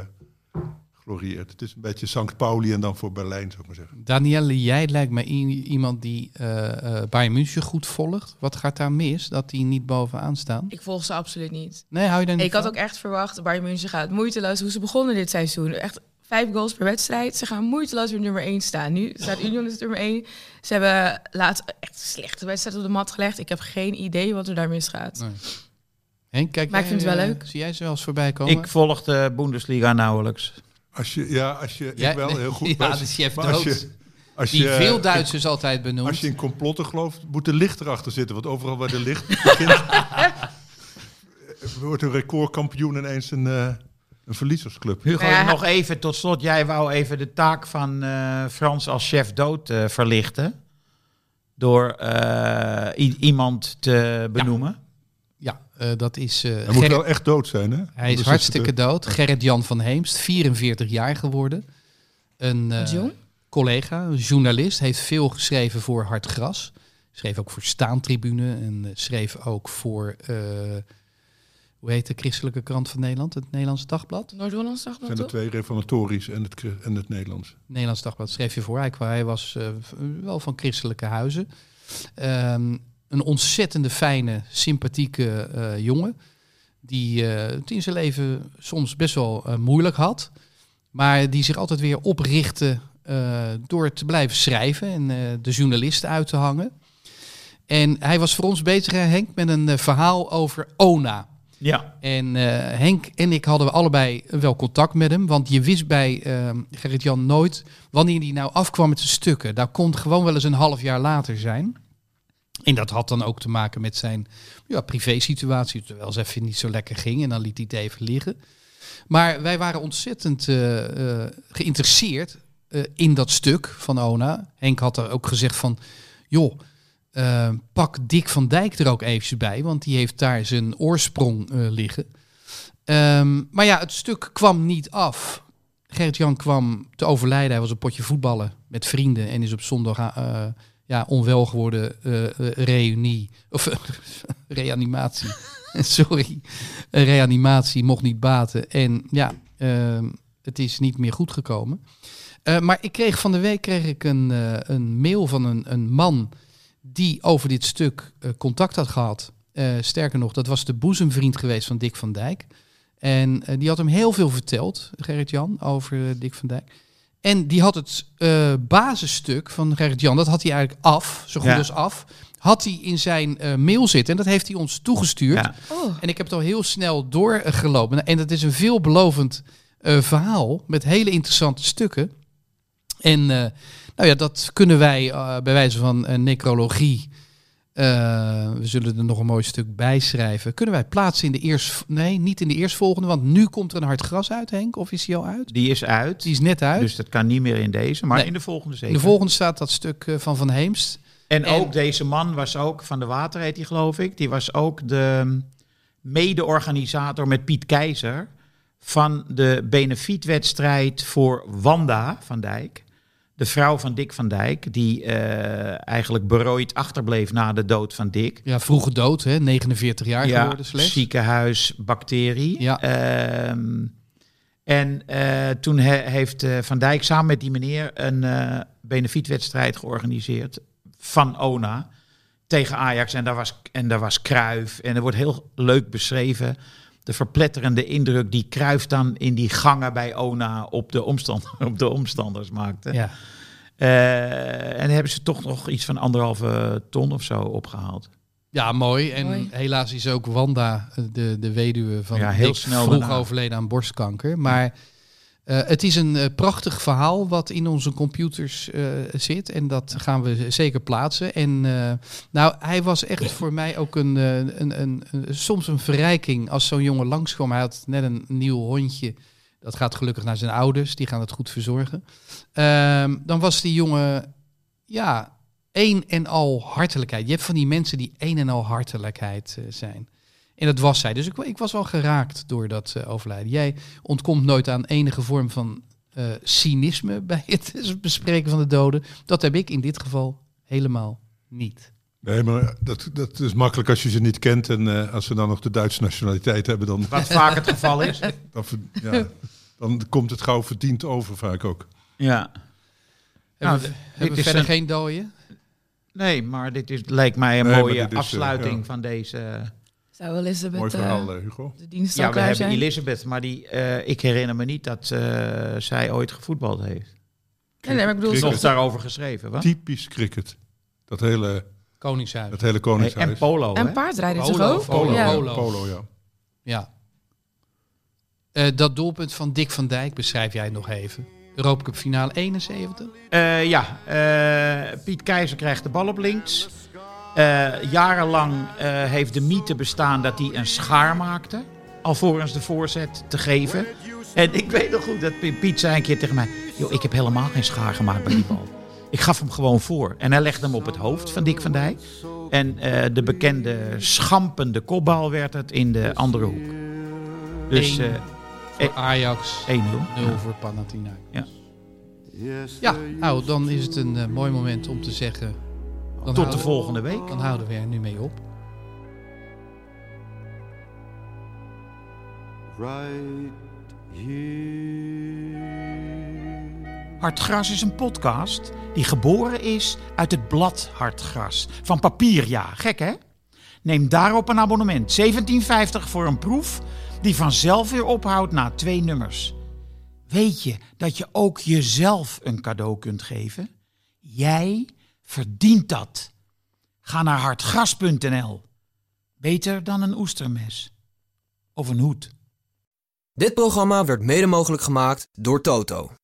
Speaker 5: glorieert. Het is een beetje Sankt Pauli en dan voor Berlijn, zou ik maar zeggen.
Speaker 3: Danielle, jij lijkt mij i- iemand die eh eh Bayern München goed volgt. Wat gaat daar mis dat die niet bovenaan staan?
Speaker 4: Ik volg ze absoluut niet.
Speaker 3: Nee, hou je daar niet
Speaker 4: Ik had
Speaker 3: van?
Speaker 4: ook echt verwacht, Bayern München gaat moeiteloos hoe ze begonnen dit seizoen. Echt vijf goals per wedstrijd. Ze gaan moeiteloos weer nummer één staan. Nu staat Union dus nummer één. Ze hebben laatst echt een slechte wedstrijd op de mat gelegd. Ik heb geen idee wat er daar misgaat.
Speaker 3: Nee. Henk, kijk,
Speaker 4: Maar ik
Speaker 3: jij,
Speaker 4: vind het wel
Speaker 3: eh,
Speaker 4: leuk.
Speaker 3: Zie jij ze wel eens voorbij komen?
Speaker 1: Ik volg de Bundesliga nauwelijks.
Speaker 5: Als je, ja, als je.
Speaker 3: Ja,
Speaker 5: ik wel
Speaker 3: nee,
Speaker 5: heel
Speaker 3: <laughs>
Speaker 5: goed.
Speaker 3: ja,
Speaker 5: maar
Speaker 3: de chef
Speaker 5: maar als
Speaker 3: Doods.
Speaker 5: je, als
Speaker 3: die
Speaker 5: je-
Speaker 3: veel Duitsers altijd benoemt.
Speaker 5: Als je in complotten gelooft, moet de licht erachter zitten. Want overal waar de licht begint, <laughs> wordt een recordkampioen ineens een, eh, een verliezersclub.
Speaker 1: Hugo,
Speaker 4: Nou ja,
Speaker 1: nog even tot slot. Jij wou even de taak van eh, Frans als chef dood eh, verlichten. Door eh, i- iemand te benoemen.
Speaker 3: Ja, eh, dat is... eh,
Speaker 5: Hij moet
Speaker 3: Gerrit-
Speaker 5: wel echt dood zijn, hè?
Speaker 3: Hij is hartstikke dood. Gerrit-Jan van Heemst, 44 jaar geworden. Een eh,
Speaker 4: Jong?
Speaker 3: collega, een journalist, heeft veel geschreven voor Hard Gras. Schreef ook voor Staantribune en eh, schreef ook voor, eh, hoe heet de christelijke krant van Nederland? Het Nederlands Dagblad?
Speaker 4: Noord-Hollands
Speaker 5: Er zijn
Speaker 4: dagblad
Speaker 5: er
Speaker 4: toch?
Speaker 5: twee reformatorisch en het, Chri- en het Nederlands.
Speaker 3: Nederlands Dagblad schreef je voor. Hij, kwa- hij was eh, v- wel van christelijke huizen. Ehm, een ontzettende fijne, sympathieke eh, jongen. Die eh, het in zijn leven soms best wel eh, moeilijk had. Maar die zich altijd weer oprichtte eh, door te blijven schrijven en eh, de journalisten uit te hangen. En hij was voor ons bezig, hè, Henk, met een eh, verhaal over ONA.
Speaker 1: Ja.
Speaker 3: En eh, Henk en ik hadden allebei wel contact met hem. Want je wist bij ehm Gerrit-Jan nooit wanneer hij nou afkwam met zijn stukken. Dat kon gewoon wel eens een half jaar later zijn. En dat had dan ook te maken met zijn ja, privé-situatie. Terwijl ze even niet zo lekker ging en dan liet hij het even liggen. Maar wij waren ontzettend eh, eh, geïnteresseerd eh, in dat stuk van Ona. Henk had er ook gezegd van, joh, eh, pak Dick van Dijk er ook eventjes bij, want die heeft daar zijn oorsprong eh, liggen. Ehm, maar ja, het stuk kwam niet af. Gerrit-Jan kwam te overlijden. Hij was een potje voetballen met vrienden en is op zondag eh, ja, onwel geworden eh, eh, reunie. Of <laughs> eh, reanimatie. <laughs> Sorry. Een reanimatie mocht niet baten. En ja, ehm, het is niet meer goed gekomen. Eh, maar ik kreeg van de week kreeg ik een, eh, een mail van een, een man die over dit stuk eh, contact had gehad. Eh, sterker nog, dat was de boezemvriend geweest van Dick van Dijk. En eh, die had hem heel veel verteld, Gerrit-Jan, over eh, Dick van Dijk. En die had het eh, basisstuk van Gerrit-Jan, dat had hij eigenlijk af, zo goed
Speaker 1: Ja.
Speaker 3: als af, had hij in zijn eh, mail zitten. En dat heeft hij ons toegestuurd.
Speaker 1: Ja.
Speaker 4: Oh,
Speaker 3: En ik heb het al heel snel doorgelopen. En dat is een veelbelovend eh, verhaal met hele interessante stukken. En eh, nou ja, dat kunnen wij eh, bij wijze van eh, necrologie. eh, we zullen er nog een mooi stuk bij schrijven. Kunnen wij plaatsen in de eerst. Nee, niet in de eerstvolgende. Want nu komt er een hard gras uit, Henk. Of is die al uit?
Speaker 1: Die is uit.
Speaker 3: Die is net uit.
Speaker 1: Dus dat kan niet meer in deze. Maar
Speaker 3: Nee.
Speaker 1: in de volgende zeker.
Speaker 3: in de volgende staat dat stuk eh, van Van Heemst.
Speaker 1: En,
Speaker 3: En-
Speaker 1: ook deze man was ook, Van de Water heet hij geloof ik, die was ook de mede-organisator met Piet Keizer van de benefietwedstrijd voor Wanda van Dijk. De vrouw van Dick van Dijk, die eh, eigenlijk berooid achterbleef na de dood van Dick.
Speaker 3: Ja, vroege dood, hè? 49 jaar geworden slechts.
Speaker 1: ziekenhuisbacterie.
Speaker 3: Ja.
Speaker 1: Ehm, en eh, toen he- heeft eh, Van Dijk samen met die meneer een eh benefietwedstrijd georganiseerd van ONA tegen Ajax. En daar was, en daar was Kruif. En er wordt heel leuk beschreven de verpletterende indruk die Kruif dan in die gangen bij ONA op de, omstand, <laughs> op de omstanders maakte.
Speaker 3: Ja.
Speaker 1: Eh, en hebben ze toch nog iets van anderhalve ton of zo opgehaald.
Speaker 3: Ja, mooi. En
Speaker 4: Mooi.
Speaker 3: helaas is ook Wanda, eh, de, de weduwe van
Speaker 1: Ja, heel
Speaker 3: Dick,
Speaker 1: snel
Speaker 3: vroeg
Speaker 1: daarna.
Speaker 3: overleden aan borstkanker. Maar eh, het is een eh, prachtig verhaal wat in onze computers eh, zit. En dat gaan we zeker plaatsen. En eh, nou, hij was echt voor mij ook een, eh, een, een, een- soms een verrijking als zo'n jongen langskwam. Hij had net een nieuw hondje. Dat gaat gelukkig naar zijn ouders. Die gaan het goed verzorgen. Ehm, dan was die jongen, ja, een en al hartelijkheid. Je hebt van die mensen die een en al hartelijkheid eh, zijn. En dat was zij. Dus ik, wa- ik was wel geraakt door dat eh, overlijden. Jij ontkomt nooit aan enige vorm van eh, cynisme bij het <laughs> bespreken van de doden. Dat heb ik in dit geval helemaal niet.
Speaker 5: Nee, maar dat, dat is makkelijk als je ze niet kent. En eh, als ze dan nog de Duitse nationaliteit hebben, dan,
Speaker 1: Wat vaak het geval is.
Speaker 5: dan, ver- ja, dan komt het gauw verdiend over vaak ook.
Speaker 1: Ja. Nou,
Speaker 3: hebben we, hebben
Speaker 1: dit
Speaker 3: we
Speaker 1: is
Speaker 3: verder
Speaker 1: een-
Speaker 3: geen dooien?
Speaker 1: Nee, maar dit is, lijkt mij een
Speaker 5: Nee, maar
Speaker 1: mooie
Speaker 5: dit is, eh,
Speaker 1: afsluiting
Speaker 5: ja.
Speaker 1: van deze.
Speaker 4: Zou Elizabeth
Speaker 5: Mooi
Speaker 4: eh,
Speaker 5: verhaal, eh, Hugo.
Speaker 4: de dienst al
Speaker 1: Ja, we
Speaker 4: klaar
Speaker 1: hebben
Speaker 4: zijn?
Speaker 1: Elisabeth, maar die, eh, ik herinner me niet dat eh, zij ooit gevoetbald heeft.
Speaker 4: Nee, nee, maar ik bedoel,
Speaker 5: Cricket.
Speaker 1: Nog daarover geschreven, wat?
Speaker 5: Typisch cricket. Dat hele,
Speaker 3: Koningshuis.
Speaker 5: dat hele
Speaker 1: Nee,
Speaker 5: koningshuis.
Speaker 1: en polo, hè?
Speaker 4: en paardrijden toch
Speaker 3: Polo,
Speaker 4: ook?
Speaker 5: Polo,
Speaker 4: Ja.
Speaker 5: ja.
Speaker 3: Polo.
Speaker 5: Polo, ja.
Speaker 3: Ja. Eh, dat doelpunt van Dick van Dijk beschrijf jij nog even. Europa Cup finale 71.
Speaker 1: Eh, ja, eh, Piet Keizer krijgt de bal op links. Eh, jarenlang eh, heeft de mythe bestaan dat hij een schaar maakte. Alvorens de voorzet te geven. En ik weet nog goed dat Pi- Piet zei een keer tegen mij... Joh, ik heb helemaal geen schaar gemaakt bij die bal. Ik gaf hem gewoon voor. En hij legde hem op het hoofd van Dick van Dijk. En eh, de bekende schampende kopbal werd het in de andere hoek. Dus eh
Speaker 3: Eén voor
Speaker 1: eh,
Speaker 3: Ajax,
Speaker 1: 1-0.
Speaker 3: 0 voor Panathinaikos.
Speaker 1: Ja.
Speaker 3: Ja, nou dan is het een eh, mooi moment om te zeggen... Dan
Speaker 1: Tot de
Speaker 3: houden,
Speaker 1: volgende week.
Speaker 3: dan houden we er nu mee op.
Speaker 2: Right here.
Speaker 1: Hartgras is een podcast die geboren is uit het blad Hartgras van papier, ja. Gek hè? Neem daarop een abonnement. 17,50 voor een proef die vanzelf weer ophoudt na twee nummers. Weet je dat je ook jezelf een cadeau kunt geven? Jij verdient dat. Ga naar hartgras.nl. Beter dan een oestermes of een hoed.
Speaker 6: Dit programma werd mede mogelijk gemaakt door Toto.